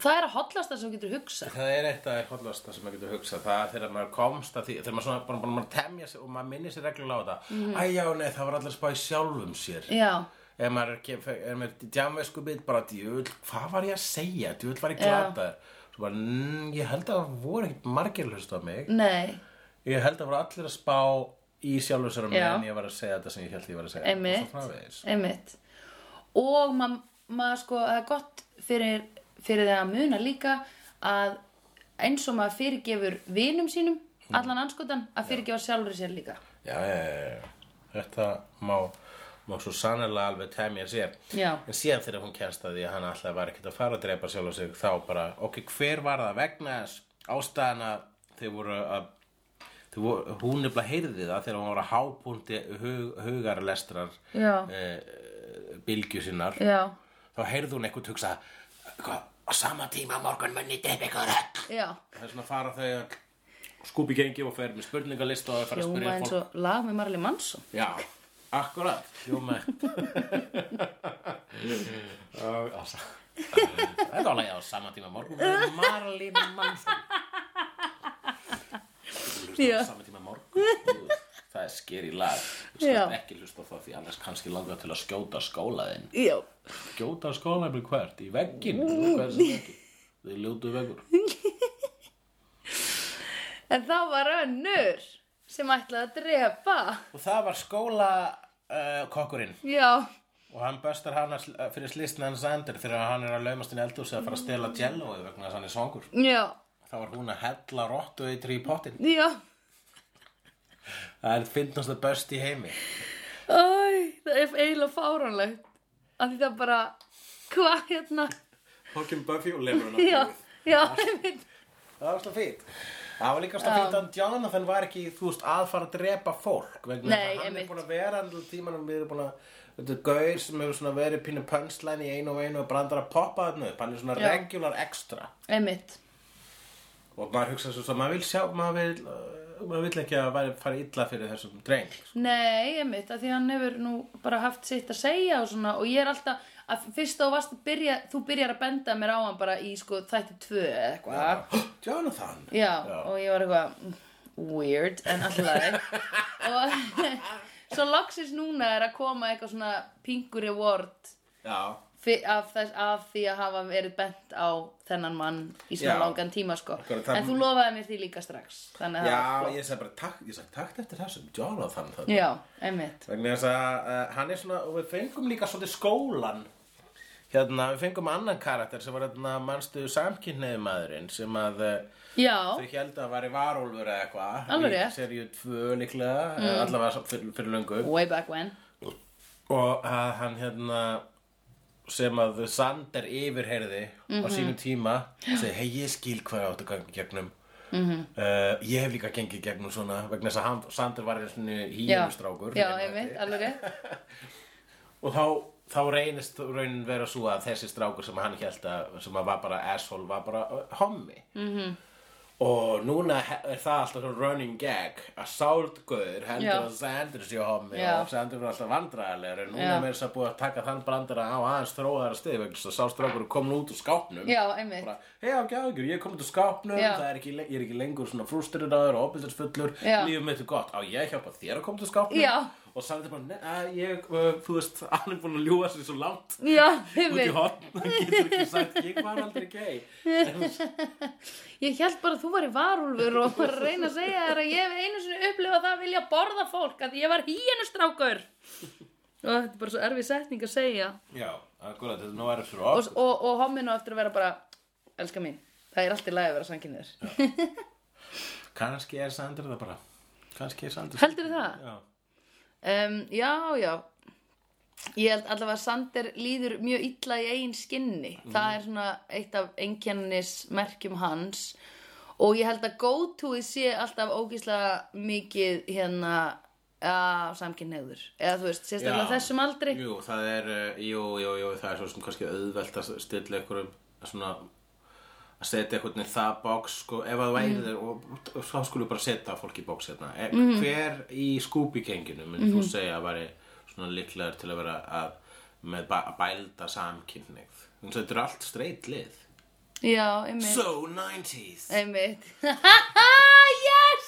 Speaker 1: það er að hollast það sem þú getur hugsa
Speaker 2: <laughs> það er eitt að er hollast sem maður getur hugsað, það er þegar maður komst að því, þegar maður svona, bara, bara maður temja sig og maður minni sér reglulega á þetta,
Speaker 1: Mhm.
Speaker 2: mm. æjá, nei, það var allir að spá í sjálfum sér.
Speaker 1: já,
Speaker 2: Ef maður er, ekki- er með djámvesku bit, bara djöfull, hvað var ég að segja, djöfull var ég glataður. Svo bara, mm, ég held að það voru ekkert margir hlust á mig,
Speaker 1: nei,
Speaker 2: ég held að það voru allir að spá í sjálfum sér á mig
Speaker 1: Já.
Speaker 2: en ég var að segja þetta sem ég held ég var að segja. Og
Speaker 1: einmitt
Speaker 2: svo framvegis.
Speaker 1: einmitt og maður ma, sko, það er gott fyrir, fyrir það að muna líka að eins og maður fyrirgefur vinum sínum allan anskotan að fyrirgefa sjálfur sér líka
Speaker 2: já, já, já, já. þetta má, má svo sannlega alveg temja sér
Speaker 1: Já.
Speaker 2: en síðan þegar hún kennst að því að hann alltaf var ekkert að fara að drepa sjálf og sig þá bara, ok, hver var það vegna þess ástæðan að þau voru að þau voru, hún nefnilega heyrði það þegar hún var að hápúndi hug, hugarlestrar
Speaker 1: já,
Speaker 2: e, bylgju sinnar
Speaker 1: já,
Speaker 2: þá heyrði hún eitthvað hugsa hvað, á sama tíma á morgun munni drepa ykkur öll
Speaker 1: já
Speaker 2: það er svona að fara þau að skúpi gengi og fer með spurningalist og þau fara að
Speaker 1: Hljóma
Speaker 2: spyrja
Speaker 1: eins
Speaker 2: fólk
Speaker 1: og lag með Marley Manson
Speaker 2: Já, akkurat Hljóma Þetta var lagið á sama tíma morgun með Marlín Mansson
Speaker 1: Já.
Speaker 2: Hlusta á sama tíma morgun Ú, Það er skeri lag Þú
Speaker 1: Já.
Speaker 2: skalt ekki hlusta á það því annars kannski langar til að skjóta skólaðinn
Speaker 1: Já
Speaker 2: Skjóta skólaðinn með hvert? Í vegginn? Hvað er sem vegginn? Þið ljótu veggur
Speaker 1: En þá var önnur sem ætlaði að drepa
Speaker 2: Og það var skóla uh, kokkurinn
Speaker 1: Já,
Speaker 2: Og hann böstar hana sl- eh, fyrir slýstna hans endur þegar hann er að laumast inn í eldhúsi að fara að
Speaker 1: Mm.
Speaker 2: stela jelloið vegna þess að hann er svangur.
Speaker 1: já,
Speaker 2: Þá var hún að hella rottu eitri í pottin.
Speaker 1: já
Speaker 2: Það er finnast að böst í heimi.
Speaker 1: Æ, það er eiginlega fáránlegt Af því það bara, hvað hérna
Speaker 2: Hókjum Buffy og lefur hann
Speaker 1: <laughs> Já, já, einmitt
Speaker 2: Það var slá fýtt. Það var líka slá fýtt að Jonathan var ekki, þú veist, að fara að drepa fólk. Vegna þess
Speaker 1: Nei,
Speaker 2: að hann
Speaker 1: einmitt.
Speaker 2: er búin að vera andur tímanum við erum búin að... Þetta er gaur sem hefur svona verið pínu punchline í einu og einu og brandar að poppa þarna upp. Hann er svona
Speaker 1: Já.
Speaker 2: regular extra.
Speaker 1: Einmitt,
Speaker 2: Og maður hugsa svo, svo maður vil sjá, maður vil, uh, maður vil ekki að væri- fara illa fyrir þessum dreng. sko.
Speaker 1: nei, einmitt Af því hann hefur nú bara haft sitt að segja og svona Og ég er alltaf, að fyrst þá varst að byrja Þú byrjar að benda mér á <gasps> hann bara í sko þætti tvö eða eitthvað
Speaker 2: Jonathan
Speaker 1: Já, og ég var eitthvað mm, weird en
Speaker 2: <laughs>
Speaker 1: alltaf og <laughs> svo loksins núna er að koma eitthvað svona pingu reward
Speaker 2: Já,
Speaker 1: fi- af, þess, af því að hafa verið bent á þennan mann í svona
Speaker 2: Já.
Speaker 1: langan tíma sko
Speaker 2: Akkurat, það-
Speaker 1: en þú lofaði mér því líka strax þannig að það
Speaker 2: já
Speaker 1: var flott.
Speaker 2: ég sagði bara takk, ég sagði takk eftir þessum Jonathan þarna.
Speaker 1: já, einmitt
Speaker 2: vegna þess að uh, hann er svona og við fengum líka svolítið skólan hérna, við fengum annan karakter sem var hérna, manstu samkynneið maðurinn sem að uh,
Speaker 1: já,
Speaker 2: þau held að væri varólfur eða eitthvað
Speaker 1: Alveg rétt.
Speaker 2: seríu tvö líklega mm. allavega svo- fyrir, fyrir löngu
Speaker 1: way back when
Speaker 2: og að hann hérna sem að Sander yfirherði
Speaker 1: Mhm.
Speaker 2: á sínum tíma segi, hei ég skil hvað ég átt að ganga í gegnum mm
Speaker 1: Mhm.
Speaker 2: ég hef líka gengið í gegnum svona vegna þess að hann, Sander var einu svona
Speaker 1: já,
Speaker 2: hýjumstrákur
Speaker 1: já einmitt, alveg rétt
Speaker 2: <laughs> og þá, þá reynist raunin vera svo að þessi strákur sem hann held að sem að var bara asshole var bara uh, hommi mm -hmm.
Speaker 1: Mhm.
Speaker 2: og núna he- er það alltaf svona running gag að sáldgöður heldur
Speaker 1: Já.
Speaker 2: að Sander sé hommi
Speaker 1: Já.
Speaker 2: og Sander er alltaf vandræðilegur en núna
Speaker 1: Já.
Speaker 2: er meira þess að búið að taka þann brandara á aðeins þróðara stið vegna þess að sá strákur komin út úr skápnum
Speaker 1: já, einmitt,
Speaker 2: bara, hei ekki ágjör, ég kom út úr skápnum
Speaker 1: Já.
Speaker 2: það er ekki, le- ég er ekki lengur svona frústriraður og opildarsfullur,
Speaker 1: Já.
Speaker 2: lífum mitt er gott á ég að hjálpa þér að koma út úr skápnum
Speaker 1: Já.
Speaker 2: og sagði bara, "Nei, að ég uh, þú veist, <laughs> hann er búin að ljúga sér svo langt
Speaker 1: já,
Speaker 2: út í
Speaker 1: einmitt
Speaker 2: hotn, <laughs> hann getur ekki sagt ég var aldrei
Speaker 1: <laughs>
Speaker 2: gay
Speaker 1: Ég held bara að þú væri varúlfur og var að reyna að segja þér að ég hef einu sinni upplifa það að vilja borða fólk að ég var hýjenustrákur. Og þetta er bara svo erfið setning að segja.
Speaker 2: já, akkurat, þetta nú er fyrir
Speaker 1: Og,
Speaker 2: okkur
Speaker 1: og, og homminu eftir að vera bara, elska mín, það er allt í lagi að vera sanginniður.
Speaker 2: kannski er Sandra það bara kannski er Sandra
Speaker 1: Heldurðu það?
Speaker 2: Já.
Speaker 1: Um, já, já. Ég held allavega að Sander líður mjög illa í eigin skinni. Það er svona eitt af einkennismerkjum hans. Og ég held að go-toið sé alltaf ógíslega mikið hérna að samkynneigður. Eða þú veist, sérstaklega
Speaker 2: Já.
Speaker 1: þessum aldri.
Speaker 2: Jú, það er, uh, jú, jú, jú, það er svo sem kannski auðvelt að stilla ykkur svona að setja einhvern veginn það box sko, ef að þú væri þér og, og þá skulum við bara setja fólk í box hérna e, hver í skúbikenginu mun þú segja að væri svona líklegur til að vera að með ba- að bælda samkynneigð þannig að þetta er allt straight lið
Speaker 1: Já, einmitt.
Speaker 2: So 90s
Speaker 1: Einmitt. <laughs> yes!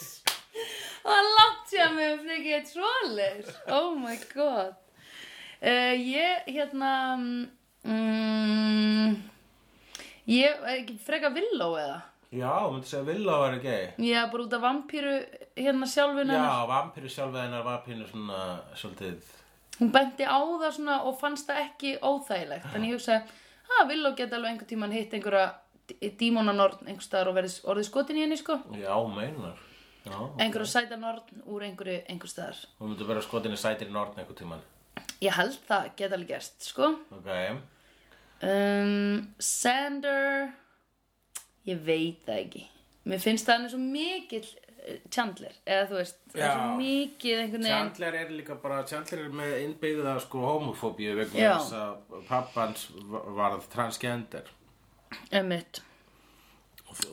Speaker 1: Og það er langt sér með um frekið eitt svoleir. Oh my god. Uh, ég, hérna, mm, ég er ekki freka villó eða?
Speaker 2: Já, þú myndir segja að Villa var ekki
Speaker 1: Já, bara út af vampíru hérna sjálfuna.
Speaker 2: Já, vampíru sjálfa hennar var pínu svona svolítið
Speaker 1: Hún benti á það svona og fannst það ekki óþægilegt. En ég hugsaði, að villó geta alveg einhvern tímann hitt einhverja d- dímonanorn einhvers staðar og verið orðið skotin í henni, sko.
Speaker 2: Já, meinar Já,
Speaker 1: Einhverja sætanorn úr einhverju, einhver staðar.
Speaker 2: Hún myndi vera skotin í sætir í nortn einhvern tíman.
Speaker 1: Ég held það geta alveg gerst, sko.
Speaker 2: Ok.
Speaker 1: Um, Sander, ég veit það ekki. Mér finnst það hann er svo mikill eh, Chandler, eða þú veist, það er svo
Speaker 2: Já.
Speaker 1: mikið einhvern veginn.
Speaker 2: Chandler er líka bara, Chandler er með innbyggða sko homofóbíu vegna
Speaker 1: Já.
Speaker 2: þess að pappans varð transgender.
Speaker 1: Emmett,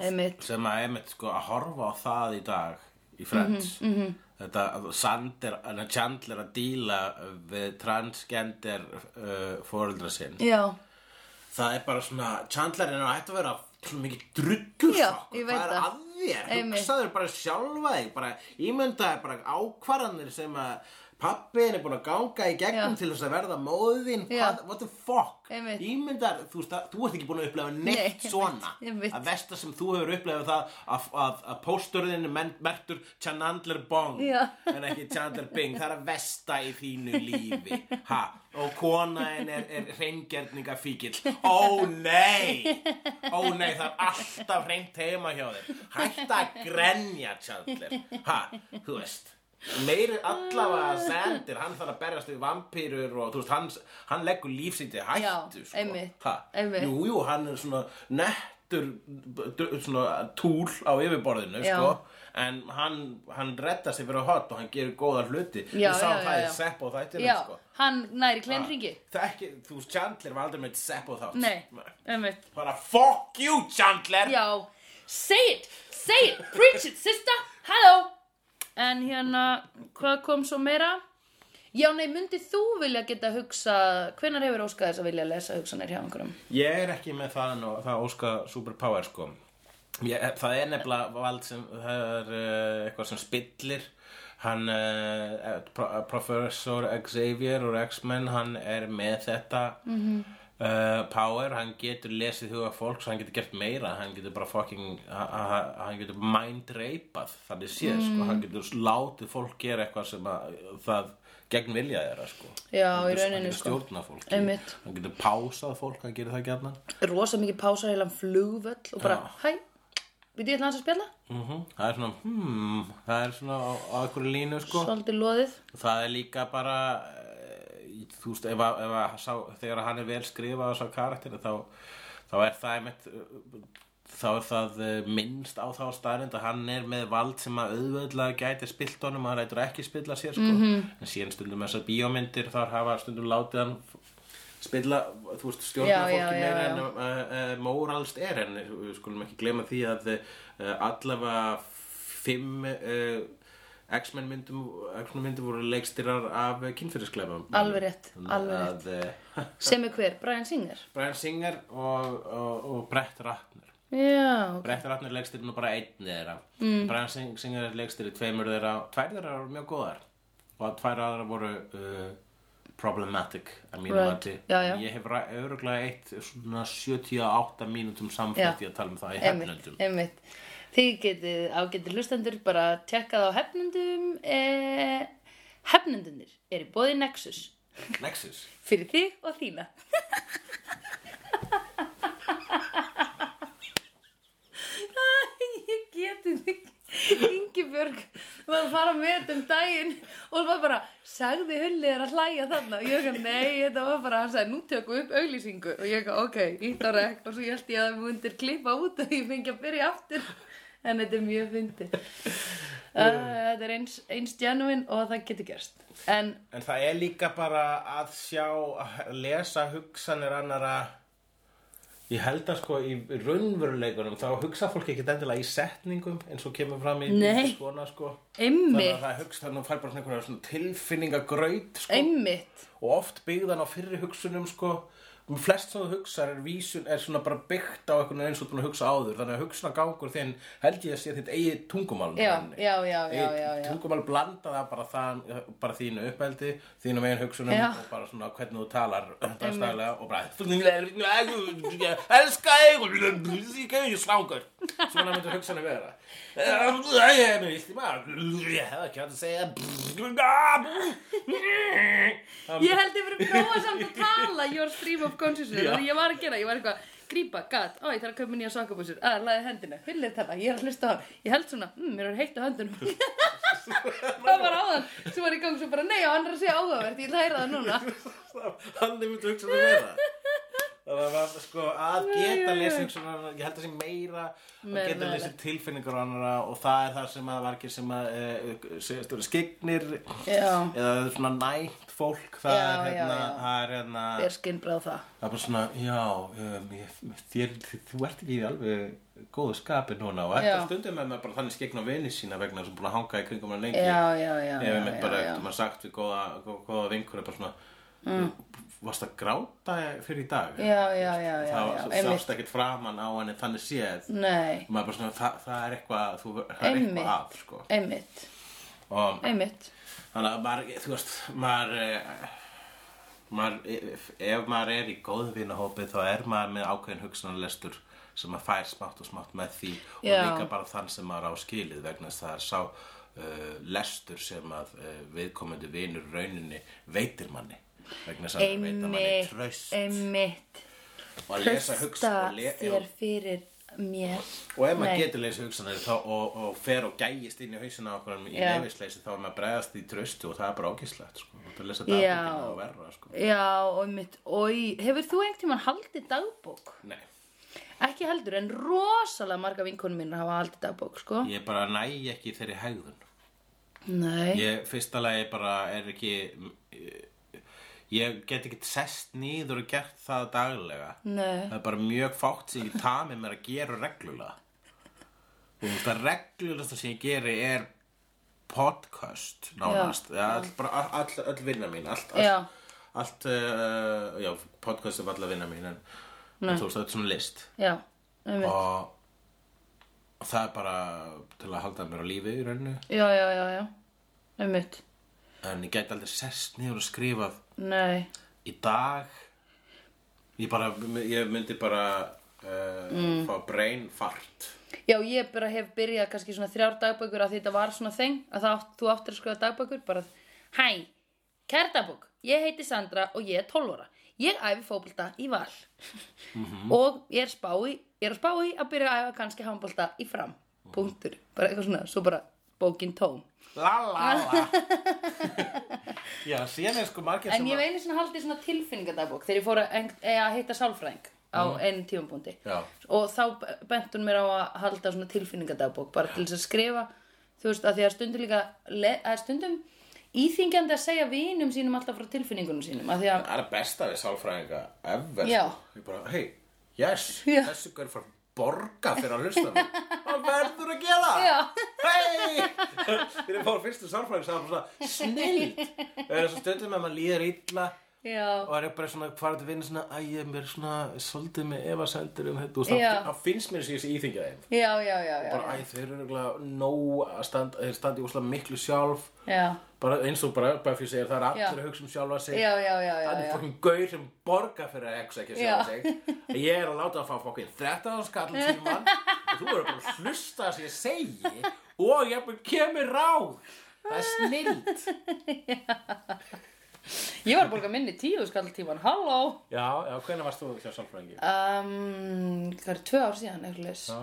Speaker 1: emmett,
Speaker 2: Sem að emitt sko að horfa á það í dag í Friends. Mm -hmm, Þetta að Sander, en að Chandler að díla við transgender uh, fóreldra sinn.
Speaker 1: já,
Speaker 2: Það er bara svona, Chandler er að ætti að vera svona mikið druggur
Speaker 1: Já, ég veit
Speaker 2: Hvað er
Speaker 1: það.
Speaker 2: að þér?
Speaker 1: Einmitt.
Speaker 2: Hugsaður bara sjálfa þig, bara ímyndaður bara ákvarðanir sem að pappiðin er búin að ganga í gegnum
Speaker 1: Já.
Speaker 2: til þess að verða móðin.
Speaker 1: Já.
Speaker 2: Hvað, what the fuck?
Speaker 1: Einmitt.
Speaker 2: Ímyndaður, þú veist að, þú ert ekki búin að upplefa neitt
Speaker 1: Nei, einmitt,
Speaker 2: svona.
Speaker 1: <laughs> einmitt.
Speaker 2: Að versta sem þú hefur upplefað það að, að, að pósturðin er men- merktur Chandler Bong
Speaker 1: Já.
Speaker 2: en ekki Chandler Bing. Það er að versta í þínu lífi. Ha? Og konaðin er, er reyngjörningafíkil. Ó nei! Ó nei, það er alltaf reynt heima hjá þér. Hætta að grenja, Chandler. Ha? Þú veist. Meiri allavega sendir, hann þarf að berjast við vampýrur og þú veist, hann, hann leggur lífsýndi hættu. sko.
Speaker 1: Já, einmitt,
Speaker 2: Ha?
Speaker 1: einmitt.
Speaker 2: Jú, jú, hann er svona nettur d- svona túl á yfirborðinu
Speaker 1: Já.
Speaker 2: sko. en hann, hann redda sig fyrir hot og hann gerir góða hluti
Speaker 1: Já,
Speaker 2: við sáum
Speaker 1: já,
Speaker 2: það
Speaker 1: já,
Speaker 2: í
Speaker 1: já.
Speaker 2: sepp og þættinu
Speaker 1: já,
Speaker 2: sko.
Speaker 1: hann næri kleinringi.
Speaker 2: það er ekki, þú veist, Chandler var aldrei með sepp og þátt
Speaker 1: Nei, emmett,
Speaker 2: bara fuck you Chandler
Speaker 1: já, say it, say it, preach it, sister, hello. En hérna, hvað kom svo meira? Já, nei, myndið þú vilja geta hugsa, hvenær hefur Óskar þess að vilja lesa hugsanir hjá einhverjum?
Speaker 2: ég er ekki með það, nú, það óska superpower sko Ég, það er nefnilega vald sem, það er uh, eitthvað sem spillir, hann, uh, pro- professor Xavier úr X-Men, hann er með þetta uh, power, hann getur lesið huga fólks, hann getur gert meira, hann getur bara fucking, ha- ha- hann getur mind-reipað, þannig séð, sko, hann getur látið fólk gera eitthvað sem að, það gegn vilja þeirra, sko.
Speaker 1: Já,
Speaker 2: Hann
Speaker 1: í
Speaker 2: getur-
Speaker 1: rauninni,
Speaker 2: Hann getur
Speaker 1: sko.
Speaker 2: stjórna fólki,
Speaker 1: Einmitt.
Speaker 2: hann getur pásað fólk, hann gerir það gjarnan.
Speaker 1: rosa mikið pása heilan flugvöll og bara, hæ, við ég ætla hans að spjalla
Speaker 2: -hmm. Það er svona, hmm, það er svona á, á einhverju línu sko.
Speaker 1: svolítið loðið
Speaker 2: Það er líka bara, eh, þú veist, ef, að- ef að sá, þegar hann er vel skrifað á sá karakteri þá, þá er það einmitt, eh, þá er það eh, minnst á þá staðrind að hann er með vald sem að auðvöldlega gæti spilt honum og hann rætur ekki spilla sér sko.
Speaker 1: Mhm.
Speaker 2: En síðan stundum þessar bíómyndir þar hafa stundum látið hann spilla, þú veist, stjórna
Speaker 1: Já,
Speaker 2: fólki
Speaker 1: já, já,
Speaker 2: meira
Speaker 1: já.
Speaker 2: en uh, uh, móralst er en eh, við skulum ekki gleyma því að uh, allavega fimm uh, X-Men myndum, X-Men myndum voru leikstýrar af kynfyrirskleifum
Speaker 1: Alveg rétt, alveg
Speaker 2: rétt uh,
Speaker 1: sem er hver, Brian Singer
Speaker 2: Brian Singer og, og, og Brett Ratner
Speaker 1: já, ok.
Speaker 2: Brett Ratner er leikstýrinn og bara einn þeirra mm. Brian Sing- Singer er leikstýri tveimur þeirra tvær þeirra eru mjög góðar og tvær aðra voru uh, problematic að mínu
Speaker 1: Right.
Speaker 2: mati
Speaker 1: Já, já.
Speaker 2: ég hef öruglega eitt svona 78 mínútum samfætt í
Speaker 1: Já.
Speaker 2: að tala um það í
Speaker 1: einmitt,
Speaker 2: hefnöndum
Speaker 1: einmitt þið getið ágetið hlustendur bara tjekkað á hefnundum eh, hefnundunir er í bóði Nexus
Speaker 2: Nexus
Speaker 1: fyrir þig og þína ég geti þig Ingibjörg var að fara með þetta um daginn og hún var bara, sagði hullið er að hlæja þarna og ég ekki, nei, þetta var bara hann sagði, nú tökum við upp auglýsingu og ég ekki, ok, ítt á rekk og svo ég held ég að það mundir klippa út og ég fengi að byrja aftur en þetta er mjög fyndi uh, þetta er eins, eins genuine og það getur gerst en
Speaker 2: En það er líka bara að sjá, að lesa hugsanir annara Ég held að sko í raunveruleikunum þá hugsa fólk ekki endilega í setningum eins og kemur fram í
Speaker 1: Nei.
Speaker 2: skona sko Þannig að
Speaker 1: Einmitt,
Speaker 2: það hugsa þannig að fær bara svona einhverja svona tilfinningagraut sko
Speaker 1: einmitt,
Speaker 2: og oft byggðan á fyrri hugsunum sko um flest sem þú hugsar er vísun er svona bara byggt á einhvern veginn eins og þú ert búin að hugsa áður þannig að hugsna gangur þinn held ég að sé þitt eigið tungumál í
Speaker 1: Já,
Speaker 2: rauninni.
Speaker 1: já, já, já,
Speaker 2: Eigið
Speaker 1: já, já.
Speaker 2: tungumál blanda það bara, þann, bara þínu uppeldi þínu megin hugsunum
Speaker 1: Já.
Speaker 2: og bara svona hvernig þú talar dagstæðlega og bara elska þig ég slangur svona myndir hugsanum vera ég er með vilt í maður ég hef ekki hægt að segja það
Speaker 1: ég held ég verið prófa samt að tala your stream of consciousness,
Speaker 2: Já.
Speaker 1: því ég var að gera, ég var eitthvað grípa, gat, ó ég þarf að kaupa mér nýja sokkabúsur að, laði hendina, hullið þarna, ég er að hlusta á hann ég held svona, mm, mér er heitt á
Speaker 2: <laughs>
Speaker 1: höndunum það var áðan sem var í gang svo bara, nei, já, hann er að segja áhugavert ég læra það núna
Speaker 2: Þannig myndi hugsa um það vera Það var sko að geta lesa hugsunar Ég held að sé meira að
Speaker 1: Meira
Speaker 2: geta lesa
Speaker 1: meðalegt.
Speaker 2: tilfinningar og annara og það er það sem að var ekki sem að e, skiknir
Speaker 1: Já.
Speaker 2: eða svona næmt fólk það
Speaker 1: Já, já,
Speaker 2: er hérna,
Speaker 1: já.
Speaker 2: það er hérna
Speaker 1: ég er skinnbráð það
Speaker 2: það er bara svona, já um, ég, þér, þú ert ekki í alveg góðu skapi núna og
Speaker 1: Já.
Speaker 2: þetta stundum er maður bara þannig skikn á vini sína vegna sem búin að hanga í kringum hann lengi
Speaker 1: já, já, já,
Speaker 2: Ef
Speaker 1: já,
Speaker 2: einmitt bara,
Speaker 1: já, já.
Speaker 2: um
Speaker 1: Mm.
Speaker 2: eftir maður sagt við góða, góða, góða vinkur bara svona, varst að gráta fyrir í dag?
Speaker 1: já, já, já, já,
Speaker 2: það
Speaker 1: já,
Speaker 2: var-
Speaker 1: einmitt
Speaker 2: sást ekkert framan á henni þannig séð.
Speaker 1: nei,
Speaker 2: Maður bara svona, það, það er eitthvað, þú, það er
Speaker 1: Einmitt.
Speaker 2: eitthvað að, sko.
Speaker 1: einmitt,
Speaker 2: Og
Speaker 1: einmitt
Speaker 2: þannig að maður, þú veist, maður, eh, maður, ef- ef maður er í góðu vinahópi þá er maður með ákveðin hugsanarlestur sem maður fær smátt og smátt með því og
Speaker 1: Já.
Speaker 2: líka bara þann sem maður á skilið vegna þess að það er sá uh, lestur sem að uh, viðkomandi vinur rauninni veitir manni vegna þess að það veitir manni
Speaker 1: einmitt,
Speaker 2: traust
Speaker 1: einmitt
Speaker 2: og að lesa hugsa
Speaker 1: Trösta
Speaker 2: og, le
Speaker 1: þér fyrir mér
Speaker 2: og ef maður
Speaker 1: Nei.
Speaker 2: getur lesa hugsanir þá, og, og fer og gægist inn í hausina okkur í
Speaker 1: Já.
Speaker 2: nefisleysi þá er maður bregðast í traustu og það er bara ágislegt sko. og það lesa
Speaker 1: Já.
Speaker 2: dagbókina og verra sko.
Speaker 1: Já, og mitt, oi, hefur þú einhvern tímann haldið dagbók?
Speaker 2: Nei,
Speaker 1: Ekki heldur, en rosalega marga vinkonum mínu hafa haldið dagbók, sko
Speaker 2: ég bara næ ekki þeirri hegðun.
Speaker 1: Nei,
Speaker 2: Ég fyrsta lagi bara er ekki, ég get ekki sest nýður og gert það daglega.
Speaker 1: nei,
Speaker 2: Það er bara mjög fátt sem ég tami mér að gera reglulega. Og það reglulegasta sem ég geri er podcast nánast. Já. All, bara, all, all, all vinna mín, allt, allt,
Speaker 1: Já.
Speaker 2: allt uh, já, podcast er alltaf vinna mín en, en þú veist, þetta er svona list.
Speaker 1: já, einmitt
Speaker 2: og og það er bara til að halda mér á lífi í rauninu
Speaker 1: já, já, já, já, einmitt
Speaker 2: en ég gæti aldrei sest niður og skrifað
Speaker 1: nei,
Speaker 2: í dag ég bara, ég myndi bara uh,
Speaker 1: Mm.
Speaker 2: fá brain fart
Speaker 1: já, ég bara hef byrjað kannski svona þrjár dagbækur af því þetta var svona þeng að það átt, þú áttir að skrifa dagbækur bara, hæ, kæra dagbæk ég heiti Sandra og ég er 12 ára ég æfi fótbolta í val og ég er spái ég er að spái að byrja að æfa kannski handbolta í fram, punktur, bara eitthvað svona svo bara bókin tóm
Speaker 2: la
Speaker 1: <laughs>
Speaker 2: la la já, síðan er sko margir
Speaker 1: En
Speaker 2: sem
Speaker 1: ég
Speaker 2: að-
Speaker 1: hef einu sinni haldið svona tilfinningadabók þegar ég fór að, eng- eh, að hitta sálfræðing á mm. einn tímapunkti
Speaker 2: Já.
Speaker 1: og þá bent hún mér á að halda svona tilfinningadabók bara til þess að skrifa þú veist, að því að stundum líka le- að stundum íþingjandi að segja vinum sínum alltaf frá tilfinningunum sínum að því að,
Speaker 2: það er besta við sálfræðinga ever
Speaker 1: Já.
Speaker 2: sko. ég bara, hei, yes,
Speaker 1: Já.
Speaker 2: þessi gaur fór að borga fyrir að hlusta á mig hann verður að gera
Speaker 1: Já.
Speaker 2: hei þegar ég fór fyrstu sálfræðing sagði hann bara svona, snillt það er svo stundum að maður líður illa
Speaker 1: já,
Speaker 2: og er bara svona farið til vinna svona að ég er mér svona svolítið með efasendur um þetta og það
Speaker 1: Já.
Speaker 2: hann finnst mér sér þessi íþingja þeim
Speaker 1: já, já, já, já,
Speaker 2: bara, æ, þeir eru nefnilega nóg að standa, þeir standi úslega miklu sjálf
Speaker 1: já,
Speaker 2: bara eins og bara Buffy segir það er
Speaker 1: Já.
Speaker 2: allir að hugsa um sjálfa sig
Speaker 1: já, já, já, já,
Speaker 2: Það er
Speaker 1: já.
Speaker 2: fokkin gaur sem borgar fyrir að exa ekki sjá
Speaker 1: Já.
Speaker 2: sig Ég er að láta að fá fokkin 13 skall tíman og þú verður bara að hlusta það sem ég segi og ég bara kemur ráð Það er snillt
Speaker 1: Ég var að borga minni tíu skalltíman, halló
Speaker 2: Já, já, hvenær varst þú hjá sálfræðingi?
Speaker 1: um, Hvað er tvö ár síðan, eitthvað leys
Speaker 2: Já,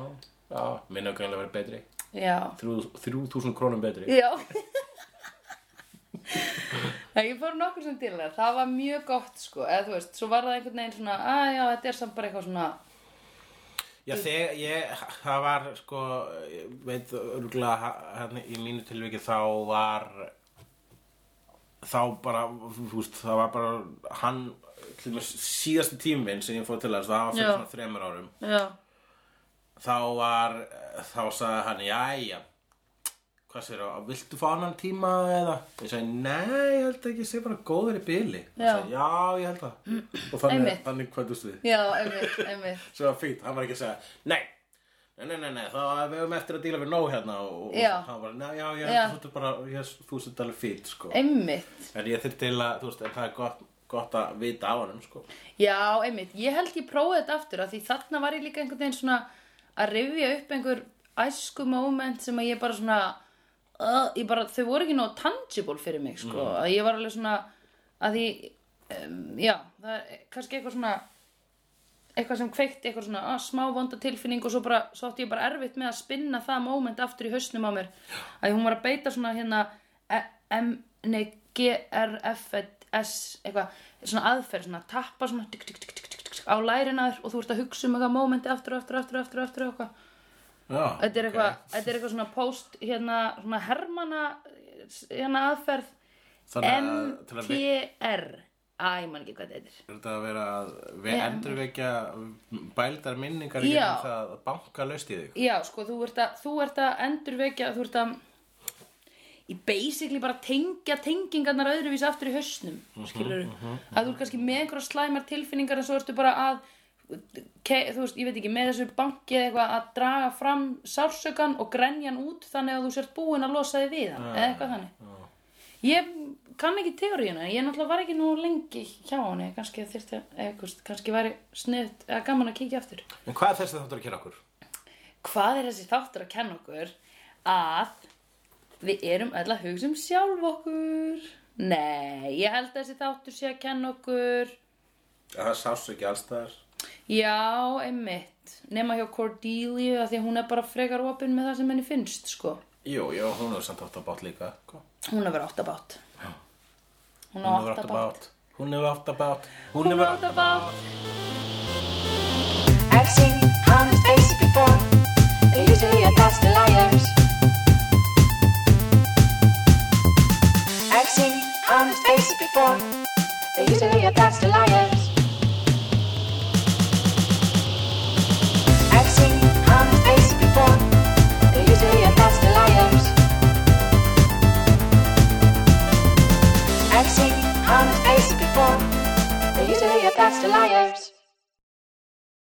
Speaker 2: já, minna greinlega verið betri
Speaker 1: Já,
Speaker 2: Þrjú- 3000 krónum betri
Speaker 1: Já Nei, ég fór nokkur sem dýrlegar, það var mjög gott sko, eða þú veist, svo var það einhvern veginn svona, að já, þetta er samt bara eitthvað svona,
Speaker 2: Já, þegar ég, það var sko, ég veit örgulega hérna í mínu tilviki þá var þá bara, þú veist, það var bara hann, til og með síðasti tíminn sem ég fór til þess, það var fyrir
Speaker 1: Já.
Speaker 2: svona þremur árum
Speaker 1: já,
Speaker 2: þá var, þá sagði hann, jæja hvað sér á, viltu fá annan tíma eða? Ég sagði, nei, ég held ekki, ég sé bara góður í byli
Speaker 1: Já.
Speaker 2: sagði, já, ég held það og þannig,
Speaker 1: Einmitt.
Speaker 2: þannig kvöldust við
Speaker 1: já, einmitt, einmitt,
Speaker 2: sem var fínt, hann var ekki að segja nei, nei, nei, nei, nei þá við höfum eftir að díla við nóg hérna og, og
Speaker 1: Já.
Speaker 2: hann var, "Nei, já, já,
Speaker 1: Já.
Speaker 2: já. þú ert bara ég, þú sett alveg fínt, sko
Speaker 1: einmitt,
Speaker 2: en ég þurft til að, þú veist, en það er gott, gott að vita á honum, sko
Speaker 1: já, einmitt, ég held ég prófaði þetta aftur að því þarna var ég líka einhvern veginn svona að rifja upp einhver æsku moment sem að ég bara svona, uh, ég bara, þau voru ekki nóg tangible fyrir mig sko, að ég var alveg svona, að því, um, já, það er kannski eitthvað svona, eitthvað sem kveikti eitthvað svona að, smá vonda tilfinning og svo bara, svo átti ég bara erfitt með að spinna það moment aftur í hausnum á mér að hún var að beita svona hérna e- M, nei, G, R, F, E, S, eitthvað svona aðferð, svona tappa svona tuk, tuk, tuk, tuk, tuk, tuk, á lærin að þér og þú ert að hugsa um eitthvað momenti aftur, aftur, aftur, aftur, aftur og eitthvað
Speaker 2: já,
Speaker 1: Þetta er
Speaker 2: ok.
Speaker 1: eitthvað, þetta er eitthvað svona post hérna, svona hermana hérna aðferð
Speaker 2: þannig
Speaker 1: M,
Speaker 2: að, til að
Speaker 1: T,
Speaker 2: við
Speaker 1: R Æ, ég man ekki hvað þetta heitir
Speaker 2: þetta að vera að við endurvekja bældar minningar
Speaker 1: Já.
Speaker 2: gegnum það að banka laust í þig
Speaker 1: Já, sko, þú ert að, þú ert að endurvekja, þú ert að í basically bara tengja tengingarnar öðruvís aftur í hausnum skilur að þú ert kannski með einhverja slæmar tilfinningar en svo ertu bara að ke, þú veist, ég veit ekki, með þessu banki eða eitthvað að draga fram sársökan og grenja hann út þannig að þú sért búin að losa þig við hann eða eitthvað þannig ég kann ekki teóriuna, ég náttúrulega var ekki nú lengi hjá hann, kannski þyrfti að- eða, þú veist, kannski væri sniðt, eða gaman að kíkja aftur
Speaker 2: en hvað er þess að þetta er að kera okkur?
Speaker 1: hvað er þessi þáttur að kenna okkur að við erum öll að hugsa um sjálf okkur nei, ég held að þessi þáttur sé að kenna okkur
Speaker 2: Að það sást ekki alls þar
Speaker 1: já, einmitt nema hjá Cordelia af því að hún er bara frekar opinn með það sem henni finnst sko.
Speaker 2: jú, jú, hún hefur samt átt að bát líka sko.
Speaker 1: hún hefur áttabátt hún
Speaker 2: hún
Speaker 1: hefur
Speaker 2: hefur átt að
Speaker 1: áttabátt
Speaker 2: bát hún hefur átt að bát hún
Speaker 1: hún
Speaker 2: hefur
Speaker 1: hefur
Speaker 2: átt að
Speaker 1: áttabátt
Speaker 3: I've seen